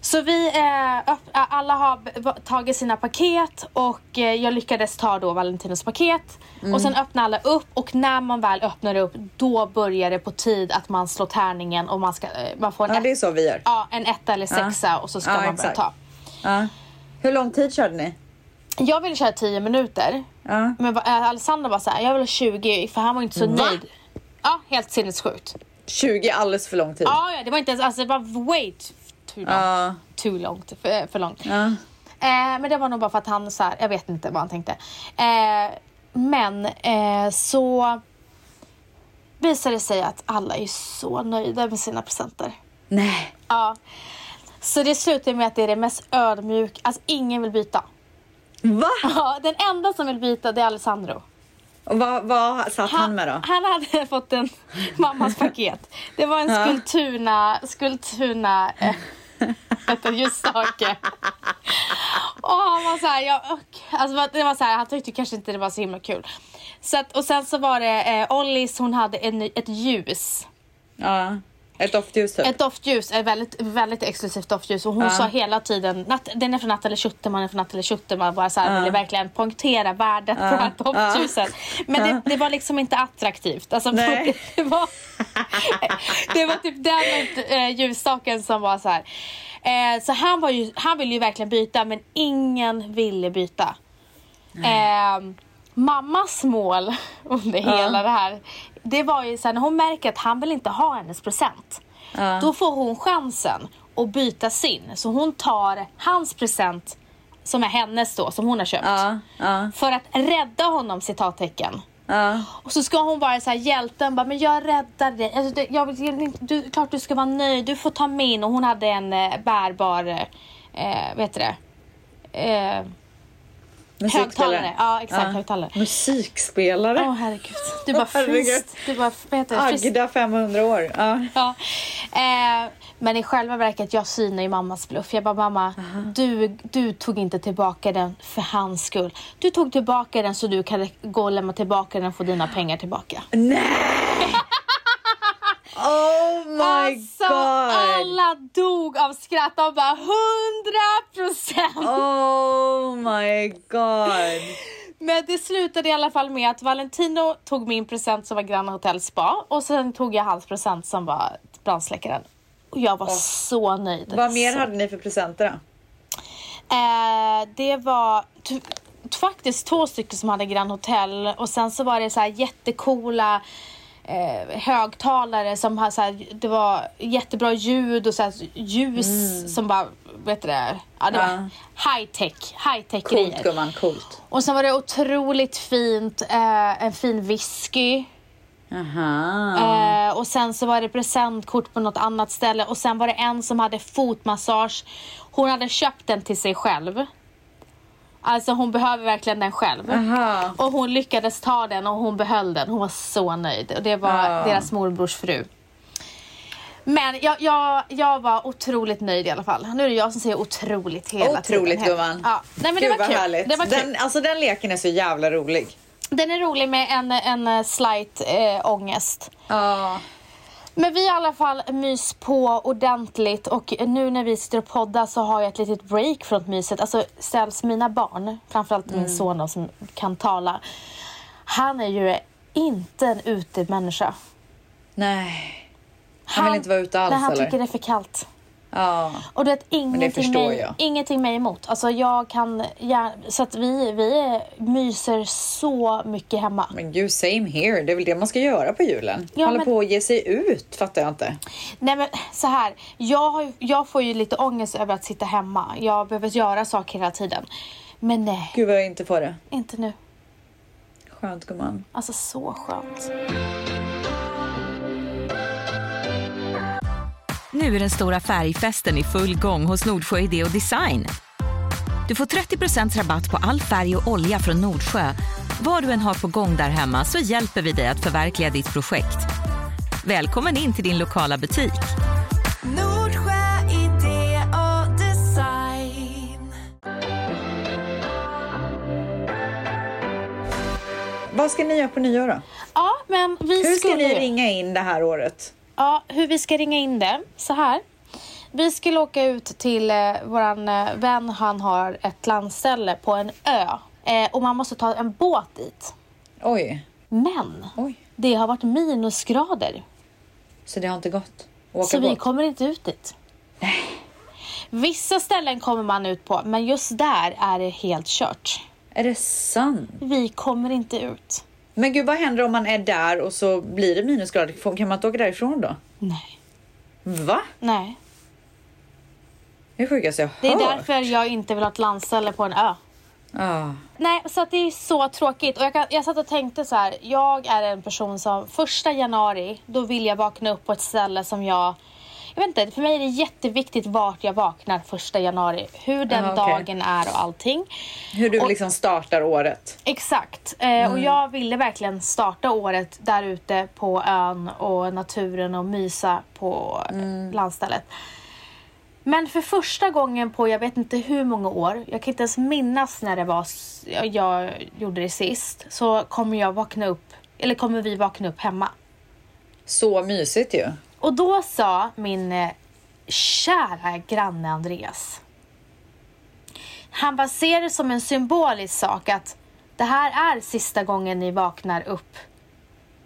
[SPEAKER 2] Så vi, eh, öpp- alla har b- b- tagit sina paket och eh, jag lyckades ta då Valentinos paket. Och
[SPEAKER 1] Mm.
[SPEAKER 2] sen öppnar alla upp och när man väl öppnar upp då börjar det på tid att man slår tärningen och man, ska, eh, man får en,
[SPEAKER 1] Ja, det är
[SPEAKER 2] ett-
[SPEAKER 1] så vi gör.
[SPEAKER 2] ja, en etta eller sexa och så ska
[SPEAKER 1] Ja,
[SPEAKER 2] man börja
[SPEAKER 1] exakt.
[SPEAKER 2] ta.
[SPEAKER 1] Ja. Hur lång tid körde ni?
[SPEAKER 2] Jag ville köra 10 minuter.
[SPEAKER 1] Ja.
[SPEAKER 2] Men va- eh, Alessandra var så här, jag vill ha 20 för han var inte så nöjd. Ja, helt sinnessjukt.
[SPEAKER 1] 20 är alldeles för lång tid.
[SPEAKER 2] Ja, ja, det var inte ens, alltså det var wait too long.
[SPEAKER 1] Ja.
[SPEAKER 2] Too long, för, för långt. Eh, men det var nog bara för att han så här, jag vet inte vad han tänkte. Eh, men eh, så visade det sig att alla är så nöjda med sina presenter.
[SPEAKER 1] Nej.
[SPEAKER 2] Ja. Så det slutar med att det är det mest ödmjuka, alltså ingen vill byta.
[SPEAKER 1] Va?
[SPEAKER 2] Ja, den enda som vill byta det är Alessandro.
[SPEAKER 1] Och vad, vad satt han, med då?
[SPEAKER 2] han hade fått en mammas paket. Det var en skulpturna, skulpturna, eh, vet du, ljusstake. Och han var så här, jag, och- alltså det var så här, han tyckte kanske inte det var så himla kul. Så att, och sen så var det eh, Ollis, hon hade en, ett ljus.
[SPEAKER 1] Ja. Ett doftljus typ?
[SPEAKER 2] Ett doftljus, ett väldigt, väldigt exklusivt doftljus. Och hon sa hela tiden, Nat, den är från Natalie Schuterman, den är från Natalie Schuterman. Bara så här, ville verkligen poängtera värdet på det här doftljuset. Men det, det var liksom inte attraktivt. Alltså,
[SPEAKER 1] Nej.
[SPEAKER 2] det, var, det var typ den eh, ljusstaken som var så här. Eh, så han, var ju, han ville ju verkligen byta, men ingen ville byta. Eh, mammas mål under hela det här, det var ju sen när hon märker att han vill inte ha hennes present. Då får hon chansen att byta sin. Så hon tar hans present, som är hennes då, som hon har köpt.
[SPEAKER 1] Ja, ja,
[SPEAKER 2] För att rädda honom, citattecken.
[SPEAKER 1] ja.
[SPEAKER 2] Och så ska hon vara så här hjälten, bara, men jag räddar dig. Alltså, det, jag, vill- du, klart du ska vara nöjd, du får ta min. Och hon hade en eh, bärbar, eh, vet du det? Eh, högtalare. Ja, exakt, högtalare.
[SPEAKER 1] Musikspelare?
[SPEAKER 2] Åh herregud, du bara
[SPEAKER 1] Herregud.
[SPEAKER 2] frist. Du bara, vad heter det? Frist.
[SPEAKER 1] Agda 500 år. Ja.
[SPEAKER 2] Ja. Eh, men i själva verket, jag synar ju mammas bluff. Jag bara, mamma, du, du tog inte tillbaka den för hans skull. Du tog tillbaka den så du kan gå och lämna tillbaka den och få dina pengar tillbaka.
[SPEAKER 1] Nej! Oh my
[SPEAKER 2] Alltså,
[SPEAKER 1] god!
[SPEAKER 2] alla dog av skratt. De bara, 100 procent!
[SPEAKER 1] Oh my god!
[SPEAKER 2] Men det slutade i alla fall med att Valentino tog min present som var Grand Hotel Spa och sen tog jag hans present som var brandsläckaren. Och jag var så nöjd.
[SPEAKER 1] Vad mer
[SPEAKER 2] Så-
[SPEAKER 1] hade ni för presenter då?
[SPEAKER 2] Eh, det var t- faktiskt två stycken som hade Grand Hotel och sen så var det så här jättecoola eh, högtalare som hade så här, det var jättebra ljud och så här ljus
[SPEAKER 1] Mm.
[SPEAKER 2] som bara, vet du det? Ja, det var high tech, high tech
[SPEAKER 1] Coolt
[SPEAKER 2] grejer.
[SPEAKER 1] gumman, coolt.
[SPEAKER 2] Och sen var det otroligt fint, eh, en fin whisky.
[SPEAKER 1] Aha.
[SPEAKER 2] Eh, och sen så var det presentkort på något annat ställe och sen var det en som hade fotmassage. Hon hade köpt den till sig själv. Alltså hon behöver verkligen den själv.
[SPEAKER 1] Aha.
[SPEAKER 2] Och hon lyckades ta den och hon behöll den. Hon var så nöjd. Och det var
[SPEAKER 1] Ah.
[SPEAKER 2] deras morbrors fru. Men jag, jag, jag var otroligt nöjd i alla fall. Nu är det jag som säger otroligt hela tiden.
[SPEAKER 1] Otroligt
[SPEAKER 2] här.
[SPEAKER 1] gumman.
[SPEAKER 2] Ja. Nej, men
[SPEAKER 1] Gud
[SPEAKER 2] det var
[SPEAKER 1] vad
[SPEAKER 2] kul.
[SPEAKER 1] härligt.
[SPEAKER 2] Det var kul.
[SPEAKER 1] Den, alltså den leken är så jävla rolig.
[SPEAKER 2] Den är rolig med en, en eh, slight eh, ångest.
[SPEAKER 1] Ja.
[SPEAKER 2] Men vi har i alla fall mys på ordentligt och nu när vi sitter och poddar så har jag ett litet break från myset. Alltså ställs mina barn, framförallt
[SPEAKER 1] Mm.
[SPEAKER 2] min son då, som kan tala. Han är ju inte en utemänniska.
[SPEAKER 1] Nej. Han vill inte vara ute alls,
[SPEAKER 2] Nej, han
[SPEAKER 1] eller?
[SPEAKER 2] tycker det är för kallt.
[SPEAKER 1] Ja.
[SPEAKER 2] Och du vet, ingenting,
[SPEAKER 1] förstår
[SPEAKER 2] mig,
[SPEAKER 1] jag.
[SPEAKER 2] ingenting mig emot. Alltså jag kan, jag, så att vi, vi myser så mycket hemma.
[SPEAKER 1] Men gud, same here. Det är väl det man ska göra på julen?
[SPEAKER 2] Ja,
[SPEAKER 1] Hålla
[SPEAKER 2] men-
[SPEAKER 1] på och ge sig ut, fattar jag inte.
[SPEAKER 2] Nej men så här, jag, har, ju- jag får ju lite ångest över att sitta hemma. Jag behöver göra saker hela tiden. Men nej,
[SPEAKER 1] Gud vad jag inte får det.
[SPEAKER 2] inte nu.
[SPEAKER 1] Skönt gumman.
[SPEAKER 2] Alltså så skönt.
[SPEAKER 4] Nu är den stora färgfesten i full gång hos Nordsjö Idé och Design. Du får 30 rabatt på all färg och olja från Nordsjö. Vad du än har på gång där hemma så hjälper vi dig att förverkliga ditt projekt. Välkommen in till din lokala butik.
[SPEAKER 5] Nordsjö idé och design.
[SPEAKER 1] Vad ska ni göra på nyår då?
[SPEAKER 2] Ja, men vi
[SPEAKER 1] Hur ska
[SPEAKER 2] skulle...
[SPEAKER 1] ni ringa in det här året?
[SPEAKER 2] Ja, hur vi ska ringa in det. Så här. Vi skulle åka ut till eh, våran eh, vän, han har ett landställe på en ö. Eh, och man måste ta en båt dit.
[SPEAKER 1] Oj,
[SPEAKER 2] Men
[SPEAKER 1] oj.
[SPEAKER 2] det har varit minusgrader.
[SPEAKER 1] Så det har inte gått? Åka
[SPEAKER 2] Så vi
[SPEAKER 1] båt?
[SPEAKER 2] kommer inte ut dit. Vissa ställen kommer man ut på, men just där är det helt kört.
[SPEAKER 1] Är det sant?
[SPEAKER 2] Vi kommer inte ut.
[SPEAKER 1] Men gud, vad händer om man är där och så blir det minusgrader? Får- Kan man inte åka därifrån då?
[SPEAKER 2] Nej.
[SPEAKER 1] Va?
[SPEAKER 2] Nej.
[SPEAKER 1] Det är det sjukaste jag
[SPEAKER 2] Det är
[SPEAKER 1] hört.
[SPEAKER 2] därför jag inte vill ha ett landställe på en ö.
[SPEAKER 1] Ah.
[SPEAKER 2] Nej, så att det är så tråkigt. Och jag, kan, jag satt och tänkte så här. Jag är en person som första januari, då vill jag vakna upp på ett ställe som jag... Jag vet inte, för mig är det jätteviktigt vart jag vaknar första januari. Hur den
[SPEAKER 1] Ja, okej.
[SPEAKER 2] dagen är och allting.
[SPEAKER 1] Hur du
[SPEAKER 2] Och-
[SPEAKER 1] liksom startar året.
[SPEAKER 2] Exakt. Eh, Och jag ville verkligen starta året där ute på ön och naturen och mysa på eh, landstället. Men för första gången på jag vet inte hur många år, jag kan inte ens minnas när det var s- jag- jag gjorde det sist, så kommer jag vakna upp, eller kommer vi vakna upp hemma.
[SPEAKER 1] Så mysigt ju.
[SPEAKER 2] Och då sa min eh, kära granne Andreas. Han bara ser det som en symbolisk sak att det här är sista gången ni vaknar upp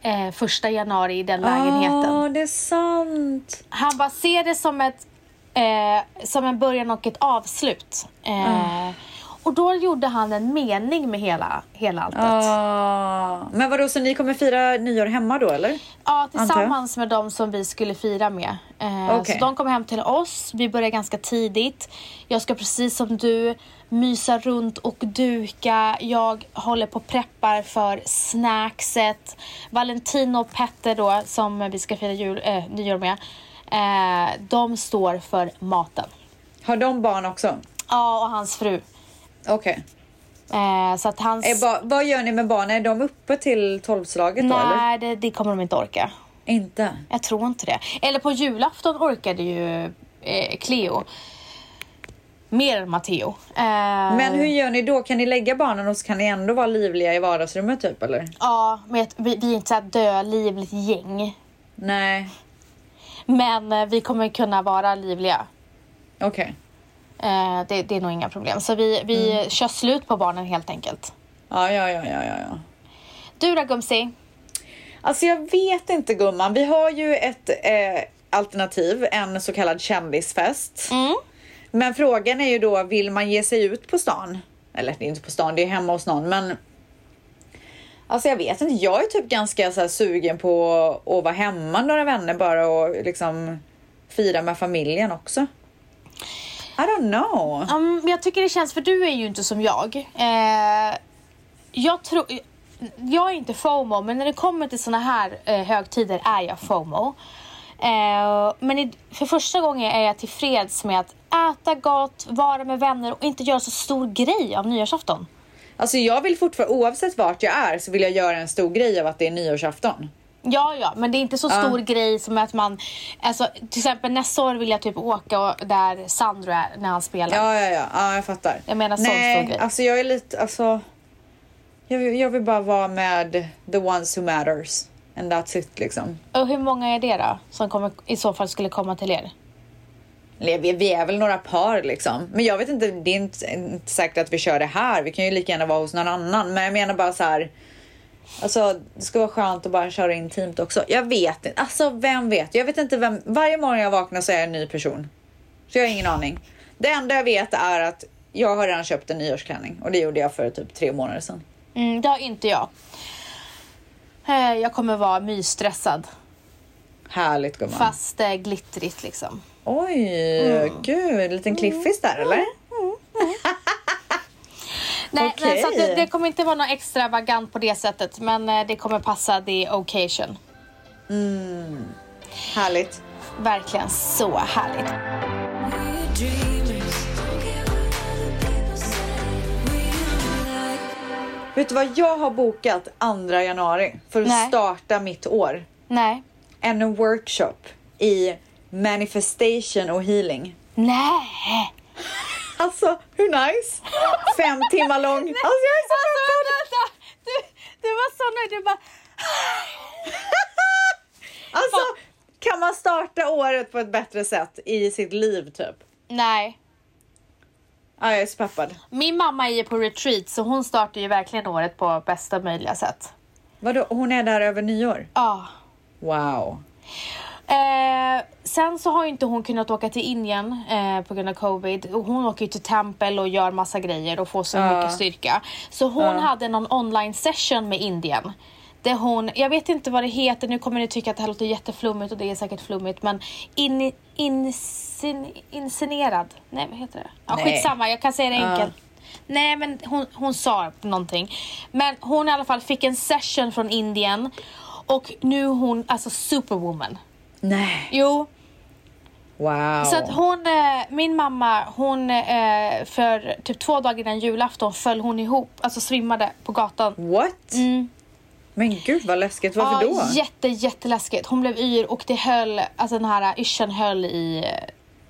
[SPEAKER 2] eh, första januari i
[SPEAKER 1] Ah.
[SPEAKER 2] den lägenheten.
[SPEAKER 1] Ja, det är sant.
[SPEAKER 2] Han bara ser det som, ett, eh, som en början och ett avslut. Eh, Och då gjorde han en mening med hela, hela alltet.
[SPEAKER 1] Ah. Men vadå, så ni kommer fira nyår hemma då eller?
[SPEAKER 2] Ja,
[SPEAKER 1] jag.
[SPEAKER 2] tillsammans med de som vi skulle fira med. Eh,
[SPEAKER 1] Okej.
[SPEAKER 2] Så de kom hem till oss. Vi började ganska tidigt. Jag ska precis som du mysa runt och duka. Jag håller på och preppar för snackset. Valentin och Petter då, som vi ska fira jul, eh, nyår med, eh, de står för maten.
[SPEAKER 1] Har de barn också?
[SPEAKER 2] Ja, och hans fru.
[SPEAKER 1] Okej.
[SPEAKER 2] Eh, så att hans...
[SPEAKER 1] Är ba- Vad gör ni med barnen? Är de uppe till tolvslaget då eller?
[SPEAKER 2] Nej, det, det kommer de inte orka.
[SPEAKER 1] Inte?
[SPEAKER 2] Jag tror inte det. Eller på julafton orkade ju eh, Cleo. Mer än Matteo. Eh,
[SPEAKER 1] Men hur gör ni då? Kan ni lägga barnen och så kan ni ändå vara livliga i vardagsrummet typ eller?
[SPEAKER 2] Ja, men jag- vi, vi är inte såhär dölivligt gäng.
[SPEAKER 1] Nej,
[SPEAKER 2] Men eh, vi kommer kunna vara livliga.
[SPEAKER 1] okej.
[SPEAKER 2] Eh, det, det är nog inga problem. Så vi, vi
[SPEAKER 1] Mm.
[SPEAKER 2] kör slut på barnen helt enkelt.
[SPEAKER 1] Ja, ja, ja, ja, ja, ja.
[SPEAKER 2] Du då Gumsi?
[SPEAKER 1] Alltså jag vet inte gumman. Vi har ju ett eh, alternativ, en så kallad kändisfest. Men frågan är ju då, vill man ge sig ut på stan? Eller det är inte på stan, det är hemma hos någon. Men Alltså jag vet inte, jag är typ ganska så här sugen på att vara hemma några vänner bara och liksom fira med familjen också. I don't know.
[SPEAKER 2] Um, jag tycker det känns, för du är ju inte som jag. Eh, jag tror... Jag är inte FOMO, men när det kommer till såna här eh, högtider är jag FOMO. Eh, men i, för första gången är jag tillfreds med att äta gott, vara med vänner och inte göra så stor grej av nyårsafton.
[SPEAKER 1] Alltså jag vill fortfarande, oavsett vart jag är så vill jag göra en stor grej av att det är nyårsafton.
[SPEAKER 2] Ja, ja, men det är inte så stor grej som att man... Alltså, till exempel nästa år vill jag typ åka och, där Sandro är när han spelar.
[SPEAKER 1] Ja, ja, ja, ja jag fattar.
[SPEAKER 2] Jag menar sån stor
[SPEAKER 1] Nej,
[SPEAKER 2] grej.
[SPEAKER 1] alltså jag är lite, alltså. Jag vill, jag vill bara vara med the ones who matters. And that's it liksom.
[SPEAKER 2] Och hur många är det då som kommer, i så fall skulle komma till er?
[SPEAKER 1] Eller Vi, vi är väl några par liksom. Men jag vet inte, det är inte, inte säkert att vi kör det här. Vi kan ju lika gärna vara hos någon annan. Men jag menar bara så här. Alltså det ska vara skönt att bara köra intimt också. Jag vet inte, alltså vem vet? Jag vet inte vem, varje morgon jag vaknar så är jag en ny person. Så jag har ingen aning. Det enda jag vet är att jag har redan köpt en nyårsklänning och det gjorde jag för typ tre månader sedan.
[SPEAKER 2] Mm, det har inte jag. Eh, Jag kommer vara mysstressad.
[SPEAKER 1] Härligt gumman.
[SPEAKER 2] Fast eh, glittrigt liksom.
[SPEAKER 1] Oj, gud, liten cliffis där eller?
[SPEAKER 2] Nej, men, så att det,
[SPEAKER 1] Okej.
[SPEAKER 2] det kommer inte vara något extravagant på det sättet. Men eh, det kommer passa the occasion.
[SPEAKER 1] Härligt.
[SPEAKER 2] Verkligen så härligt.
[SPEAKER 5] We're dreamers. Don't care what other people say. We are like
[SPEAKER 1] Vet du vad jag har bokat 2 januari för att
[SPEAKER 2] Nej.
[SPEAKER 1] starta mitt år?
[SPEAKER 2] Nej.
[SPEAKER 1] En workshop i manifestation och healing.
[SPEAKER 2] Nej!
[SPEAKER 1] Alltså, hur nice? Fem timmar lång. Alltså, jag är så peppad!
[SPEAKER 2] Vänta! Du, du var så nöjd. Du bara... "Ah."
[SPEAKER 1] Alltså, kan man starta året på ett bättre sätt i sitt liv typ?
[SPEAKER 2] Nej.
[SPEAKER 1] Ja, jag är så peppad.
[SPEAKER 2] Min mamma är ju på retreat så hon startar ju verkligen året på bästa möjliga sätt.
[SPEAKER 1] Vadå, hon är där över nyår?
[SPEAKER 2] Ja.
[SPEAKER 1] Wow.
[SPEAKER 2] Eh, sen så har ju inte hon kunnat åka till Indien eh, på grund av covid. Och Hon åker ju till tempel och gör massa grejer och får så mycket styrka. Så hon hade någon online session med Indien. Där hon, jag vet inte vad det heter, nu kommer ni tycka att det här låter jätteflummigt och det är säkert flummigt men in, insin, insinerad, nej vad heter det? Ja,
[SPEAKER 1] Nej.
[SPEAKER 2] skitsamma, jag kan säga det enkelt. Nej men hon, hon sa någonting. Men hon i alla fall fick en session från Indien och nu är hon alltså superwoman.
[SPEAKER 1] Nej.
[SPEAKER 2] Jo,
[SPEAKER 1] Wow.
[SPEAKER 2] så att hon, eh, min mamma, hon eh, för typ två dagar innan julafton föll hon ihop, alltså svimmade på gatan.
[SPEAKER 1] What? Men gud vad läskigt, varför
[SPEAKER 2] Mm. Ja,
[SPEAKER 1] då?
[SPEAKER 2] Jätte, jätteläskigt. Hon blev yr och det höll, alltså den här yrseln höll i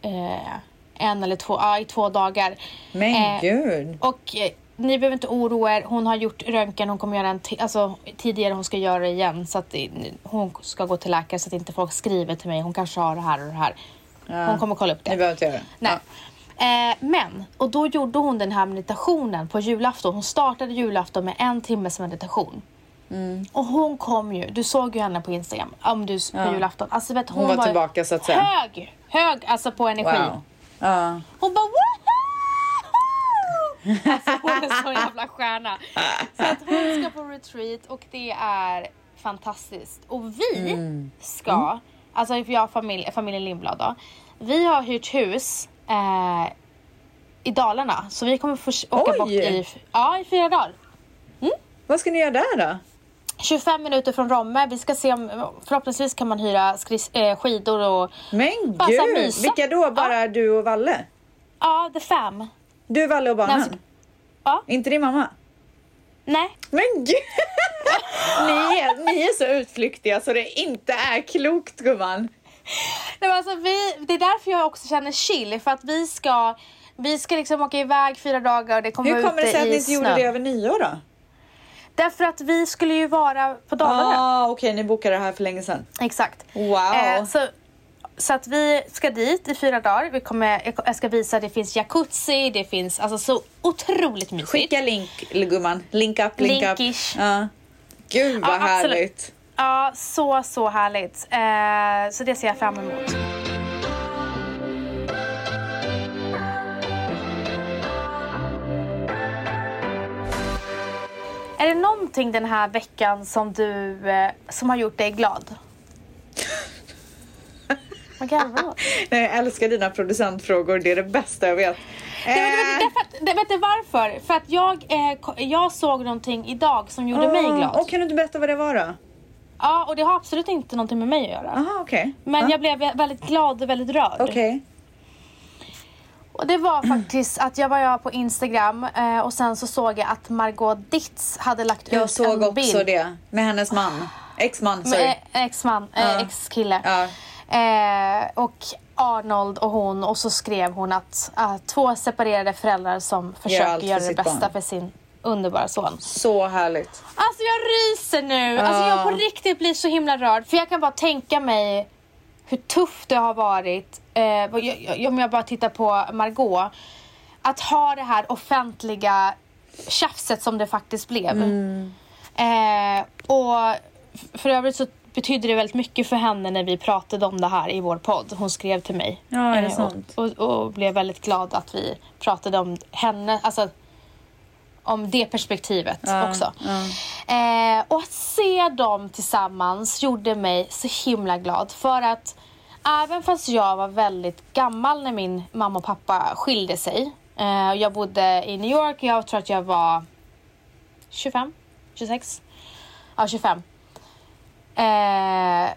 [SPEAKER 2] eh, en eller två, ja, i två dagar.
[SPEAKER 1] Men
[SPEAKER 2] Eh,
[SPEAKER 1] gud.
[SPEAKER 2] Och eh, ni behöver inte oroa er, hon har gjort röntgen, hon kommer göra en ti- alltså, tidigare, hon ska göra det igen. Så att det- hon ska gå till läkare så att inte folk skriver till mig, hon kanske har det här och det här. Hon kommer kolla upp det.
[SPEAKER 1] Ni behöver inte göra det.
[SPEAKER 2] Nej.
[SPEAKER 1] Ja.
[SPEAKER 2] Eh, men, och då gjorde hon den här meditationen på julafton. Hon startade julafton med en timmes meditation.
[SPEAKER 1] Mm.
[SPEAKER 2] Och hon kom ju, du såg ju henne på Instagram, om du på julafton. Alltså vet, hon,
[SPEAKER 1] Hon var tillbaka, så att säga.
[SPEAKER 2] Hög, hög alltså på energi.
[SPEAKER 1] Wow. Ja.
[SPEAKER 2] Hon bara woho! Alltså hon är så jävla stjärna. Så att hon ska på retreat och det är fantastiskt. Och vi ska, alltså för jag och familj, familjen Lindblad då. Vi har hyrt hus eh, i Dalarna så vi kommer förs- åka
[SPEAKER 1] Oj!
[SPEAKER 2] bort i, ja, i fyra dagar.
[SPEAKER 1] Vad ska ni göra där då?
[SPEAKER 2] 25 minuter från Romme. Vi ska se om, förhoppningsvis kan man hyra skris, eh, skidor och
[SPEAKER 1] Men
[SPEAKER 2] Bara så här
[SPEAKER 1] gud,
[SPEAKER 2] mysa.
[SPEAKER 1] vilka då? Bara du och Valle?
[SPEAKER 2] ja, the fam.
[SPEAKER 1] Du, Valle och barnen?
[SPEAKER 2] Nej, alltså- Ja.
[SPEAKER 1] Inte din mamma?
[SPEAKER 2] Nej,
[SPEAKER 1] Men gud! ni, är, ni är så utflyktiga så det inte är klokt gumman.
[SPEAKER 2] Nej, men alltså, vi, det är därför jag också känner chill, för att vi ska, vi ska liksom åka iväg fyra dagar och det kommer
[SPEAKER 1] Hur
[SPEAKER 2] vara
[SPEAKER 1] kommer det
[SPEAKER 2] ute
[SPEAKER 1] sig att
[SPEAKER 2] i
[SPEAKER 1] ni inte gjorde
[SPEAKER 2] snö.
[SPEAKER 1] det över nyår då?
[SPEAKER 2] Därför att vi skulle ju vara på Dalarna.
[SPEAKER 1] Ah, Okej, ni bokade det här för länge sedan.
[SPEAKER 2] Exakt.
[SPEAKER 1] Wow.
[SPEAKER 2] Eh, så, så att vi ska dit i fyra dagar. Vi kommer, jag- jag ska visa, det finns jacuzzi, det finns alltså så otroligt mysigt.
[SPEAKER 1] Skicka länk gumman. Link up, link
[SPEAKER 2] Linkish.
[SPEAKER 1] up. Ja. Gud vad
[SPEAKER 2] Ja, absolut.
[SPEAKER 1] härligt.
[SPEAKER 2] Ja, så, så härligt. Eh, så det ser jag fram emot. Är det någonting den här veckan som du eh, som har gjort dig glad? Man garvar åt.
[SPEAKER 1] Nej, jag älskar dina producentfrågor, det är det bästa jag vet. Eh,
[SPEAKER 2] Nej, men det, det, det, det, vet du varför? För att jag, eh, ko- jag såg någonting idag som gjorde mig glad.
[SPEAKER 1] Och kan du inte berätta vad det var då?
[SPEAKER 2] Ja, och det har absolut inte någonting med mig att göra.
[SPEAKER 1] Aha, okej.
[SPEAKER 2] Men jag blev vä- väldigt glad och väldigt rörd.
[SPEAKER 1] Ah. Okej.
[SPEAKER 2] Och det var faktiskt att jag var jag på Instagram eh, och sen så såg jag att Margot Ditz hade lagt
[SPEAKER 1] Jag
[SPEAKER 2] ut
[SPEAKER 1] såg
[SPEAKER 2] en
[SPEAKER 1] också
[SPEAKER 2] bild.
[SPEAKER 1] det med hennes man. Ex-man, sorry.
[SPEAKER 2] Med eh, ex-man, eh,
[SPEAKER 1] Ja.
[SPEAKER 2] ex-kille.
[SPEAKER 1] Ja.
[SPEAKER 2] Eh, och Arnold och hon och så skrev hon att eh, två separerade föräldrar som försöker
[SPEAKER 1] allt för
[SPEAKER 2] göra det
[SPEAKER 1] sitt
[SPEAKER 2] bästa
[SPEAKER 1] barn.
[SPEAKER 2] för sin underbara son.
[SPEAKER 1] Så härligt.
[SPEAKER 2] Alltså jag ryser nu. Alltså jag på riktigt blir så himla rörd. För jag kan bara tänka mig hur tufft det har varit. Eh, vad- jag, jag, om jag bara tittar på Margot. Att ha det här offentliga tjafset som det faktiskt blev. Eh, och f- för övrigt så betydde det väldigt mycket för henne när vi pratade om det här i vår podd. Hon skrev till mig.
[SPEAKER 1] Ja, är det
[SPEAKER 2] Eh,
[SPEAKER 1] sant?
[SPEAKER 2] Och, och, och blev väldigt glad att vi pratade om henne. Alltså, om det perspektivet också. Eh, och att se dem tillsammans gjorde mig så himla glad. För att även fast jag var väldigt gammal när min mamma och pappa skilde sig. Eh, och jag bodde i New York och jag tror att jag var 25, 26. Ja, 25. Eh,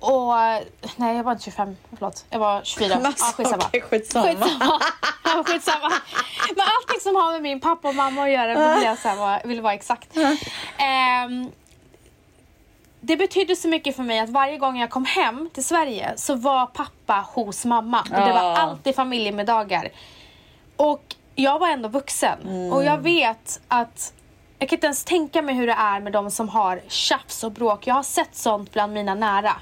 [SPEAKER 2] och... Nej, jag var inte 25. Förlåt. Jag var 24. Ja,
[SPEAKER 1] Massa,
[SPEAKER 2] skitsamma.
[SPEAKER 1] Alltså, okej, skitsamma.
[SPEAKER 2] Ja, skitsamma. Men allting som har med min pappa och mamma att göra då vill jag så här vara, vill vara exakt. Ehm, det betydde så mycket för mig att varje gång jag kom hem till Sverige så var pappa hos mamma. Och det var
[SPEAKER 1] Ja.
[SPEAKER 2] alltid familjemiddagar. Och jag var ändå vuxen. Och jag vet att jag kan inte ens tänka mig hur det är med de som har tjafs och bråk. Jag har sett sånt bland mina nära.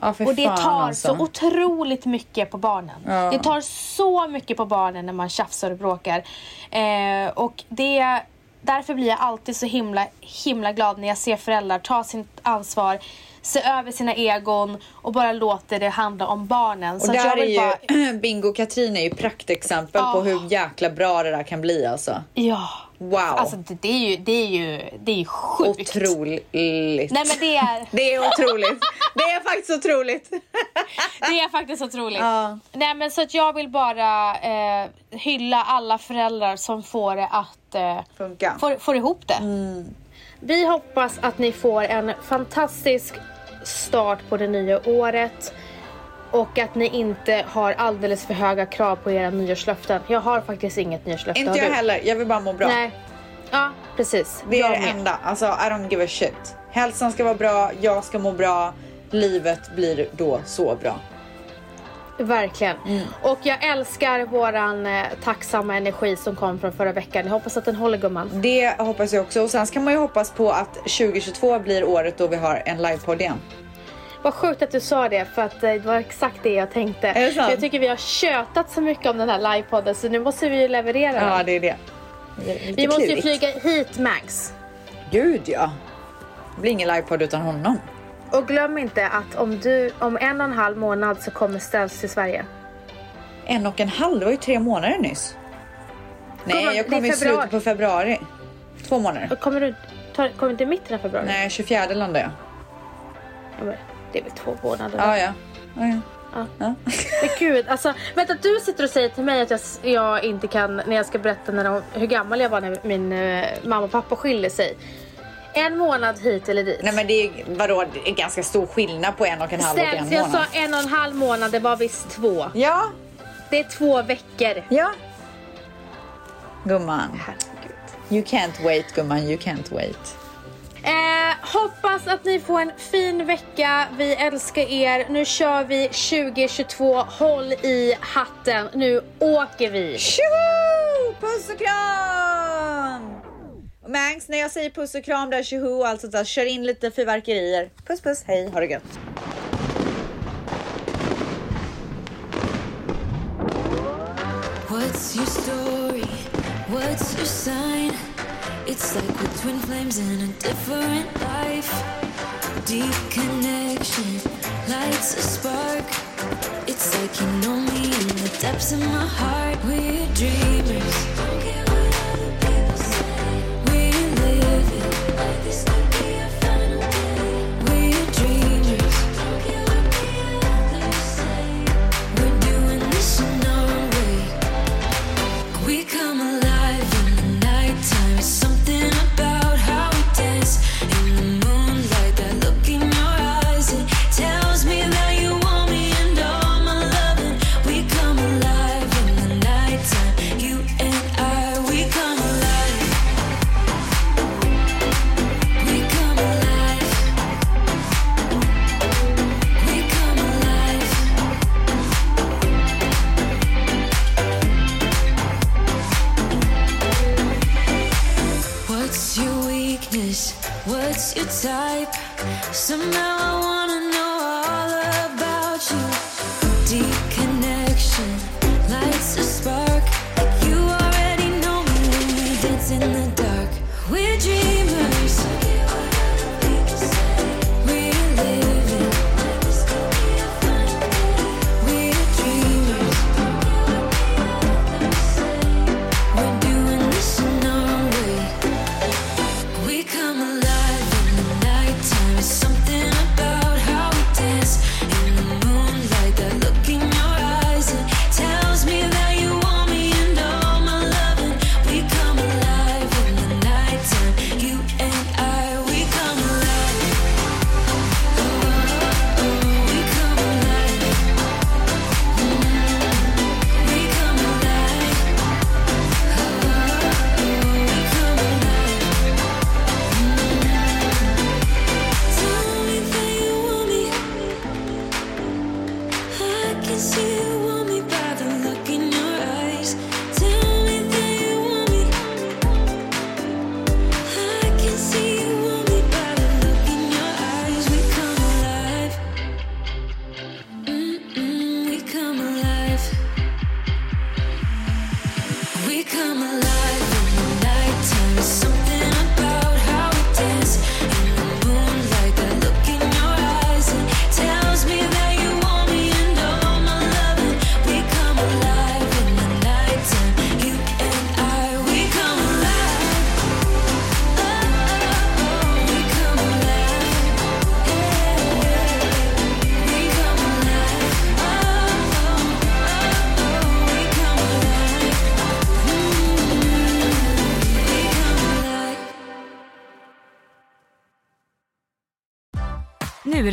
[SPEAKER 1] Ja, fy
[SPEAKER 2] Och det
[SPEAKER 1] fan,
[SPEAKER 2] tar
[SPEAKER 1] alltså.
[SPEAKER 2] så otroligt mycket på barnen.
[SPEAKER 1] Ja.
[SPEAKER 2] Det tar så mycket på barnen när man tjafsar och bråkar. Eh, och det, därför blir jag alltid så himla, himla glad när jag ser föräldrar ta sitt ansvar, se över sina egon och bara låter det handla om barnen.
[SPEAKER 1] Och
[SPEAKER 2] att
[SPEAKER 1] där är
[SPEAKER 2] vill
[SPEAKER 1] ju,
[SPEAKER 2] bara- Ah.
[SPEAKER 1] Bingo Katrin är ju praktexempel på
[SPEAKER 2] Ja.
[SPEAKER 1] hur jäkla bra det där kan bli alltså.
[SPEAKER 2] Ja.
[SPEAKER 1] Wow.
[SPEAKER 2] Alltså det, det är ju, det är ju, det är ju sjukt.
[SPEAKER 1] Otroligt.
[SPEAKER 2] Nej men det är...
[SPEAKER 1] Det är otroligt. det är faktiskt otroligt.
[SPEAKER 2] Det är faktiskt otroligt.
[SPEAKER 1] Ja.
[SPEAKER 2] Nej, men så att jag vill bara eh, hylla alla föräldrar som får det att eh,
[SPEAKER 1] Funka.
[SPEAKER 2] Får, får ihop det. Mm. Vi hoppas att ni får en fantastisk start på det nya året och att ni inte har alldeles för höga krav på era nyårslöften. Jag har faktiskt inget nyårslöfte.
[SPEAKER 1] Inte
[SPEAKER 2] har
[SPEAKER 1] jag
[SPEAKER 2] du?
[SPEAKER 1] heller. Jag vill bara må bra.
[SPEAKER 2] Nej. Ja, precis.
[SPEAKER 1] Det är
[SPEAKER 2] Jag
[SPEAKER 1] det
[SPEAKER 2] med.
[SPEAKER 1] enda. Alltså, I don't give a shit. Hälsan ska vara bra, jag ska må bra. Livet blir då så bra.
[SPEAKER 2] Verkligen.
[SPEAKER 1] Mm.
[SPEAKER 2] Och jag älskar våran eh, tacksamma energi som kom från förra veckan. Jag hoppas att den håller gumman.
[SPEAKER 1] Det hoppas jag också. Och sen kan man ju hoppas på att 2022 blir året då vi har en livepodd igen.
[SPEAKER 2] Vad sjukt att du sa det för att eh, det var exakt det jag tänkte.
[SPEAKER 1] Är det sant?
[SPEAKER 2] För jag tycker vi har tjötat så mycket om den här livepodden så nu måste vi ju leverera den.
[SPEAKER 1] Ja, det är det. Det är lite
[SPEAKER 2] Vi måste ju
[SPEAKER 1] klurigt.
[SPEAKER 2] flyga hit Max.
[SPEAKER 1] Gud ja. Det blir ingen livepodd utan honom.
[SPEAKER 2] Och glöm inte att om, du, om en och en halv månad så kommer Ställs till Sverige.
[SPEAKER 1] En och en halv, det var ju tre månader nyss. Nej,
[SPEAKER 2] Gumman,
[SPEAKER 1] jag
[SPEAKER 2] det
[SPEAKER 1] kommer
[SPEAKER 2] är
[SPEAKER 1] i
[SPEAKER 2] februari.
[SPEAKER 1] slutet på februari. Två månader.
[SPEAKER 2] Och Kommer du, tar, kommer du inte i mitten av februari?
[SPEAKER 1] Nej, 24 landar jag.
[SPEAKER 2] Ja, men Det är väl två månader?
[SPEAKER 1] Ja, ja. ja, ja.
[SPEAKER 2] Men gud, alltså vänta du sitter och säger till mig att jag, s- jag inte kan när jag ska berätta när de, hur gammal jag var när min eh, mamma och pappa skilde sig. En månad hit eller dit.
[SPEAKER 1] Nej men det är, vadå, det är ganska stor skillnad på en och en halv och en
[SPEAKER 2] Ställs, jag
[SPEAKER 1] månad.
[SPEAKER 2] sa en och en halv månad, det var visst två.
[SPEAKER 1] Ja,
[SPEAKER 2] Det är två veckor.
[SPEAKER 1] ja. Gumman,
[SPEAKER 2] Herregud.
[SPEAKER 1] you can't wait gumman, you can't wait.
[SPEAKER 2] Eh, hoppas att ni får en fin vecka. Vi älskar er. Nu kör vi 2022. Håll i hatten. Nu åker vi.
[SPEAKER 1] Tjoho! Puss och kram! Och Mangs, när jag säger puss och kram där tjoho och allt sånt där, kör in lite fyrverkerier. Puss puss, hej, ha det gött.
[SPEAKER 5] What's your story? What's your sign? It's like we're twin flames in a different life. Deep connection lights a spark. It's like you know me in the depths of my heart. We're dreamers. Don't care what other people say. We're living. This could be our final day. We're dreamers. Don't care what the others say. We're doing this in our way. We come alive in the nighttime. It's something about how we dance in the moonlight. That look in your eyes, it tells me that you want me and all my loving. We come alive in the nighttime. You and I, we come alive. We come alive. We come alive. What's your weakness? What's your type? Somehow I wanna know all about you. Deep connection lights a spark. You already know me when we dance in the dark. We're dreamers. We're living. We're dreamers. We're doing this in our way. We come alive in the nighttime. It's something about how we dance in the moonlight. That look in your eyes it tells me that you want me and all my loving. We come alive in the nighttime. You and I, we come alive. We come alive. We come alive. We come alive. Tell me that you want me. I can see you want me by the look in your eyes. Tell me that you want me. I can see you want me by the look in your eyes. We come alive. Mm we come alive. We come alive in the nighttime. There's something about how we dance in the moonlight. That look in your eyes it tells me that you want me and all my loving. We come alive in the nighttime. You and I, we come alive. Oh, we come alive. We come alive. Oh, we come alive.
[SPEAKER 4] Nu är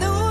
[SPEAKER 5] No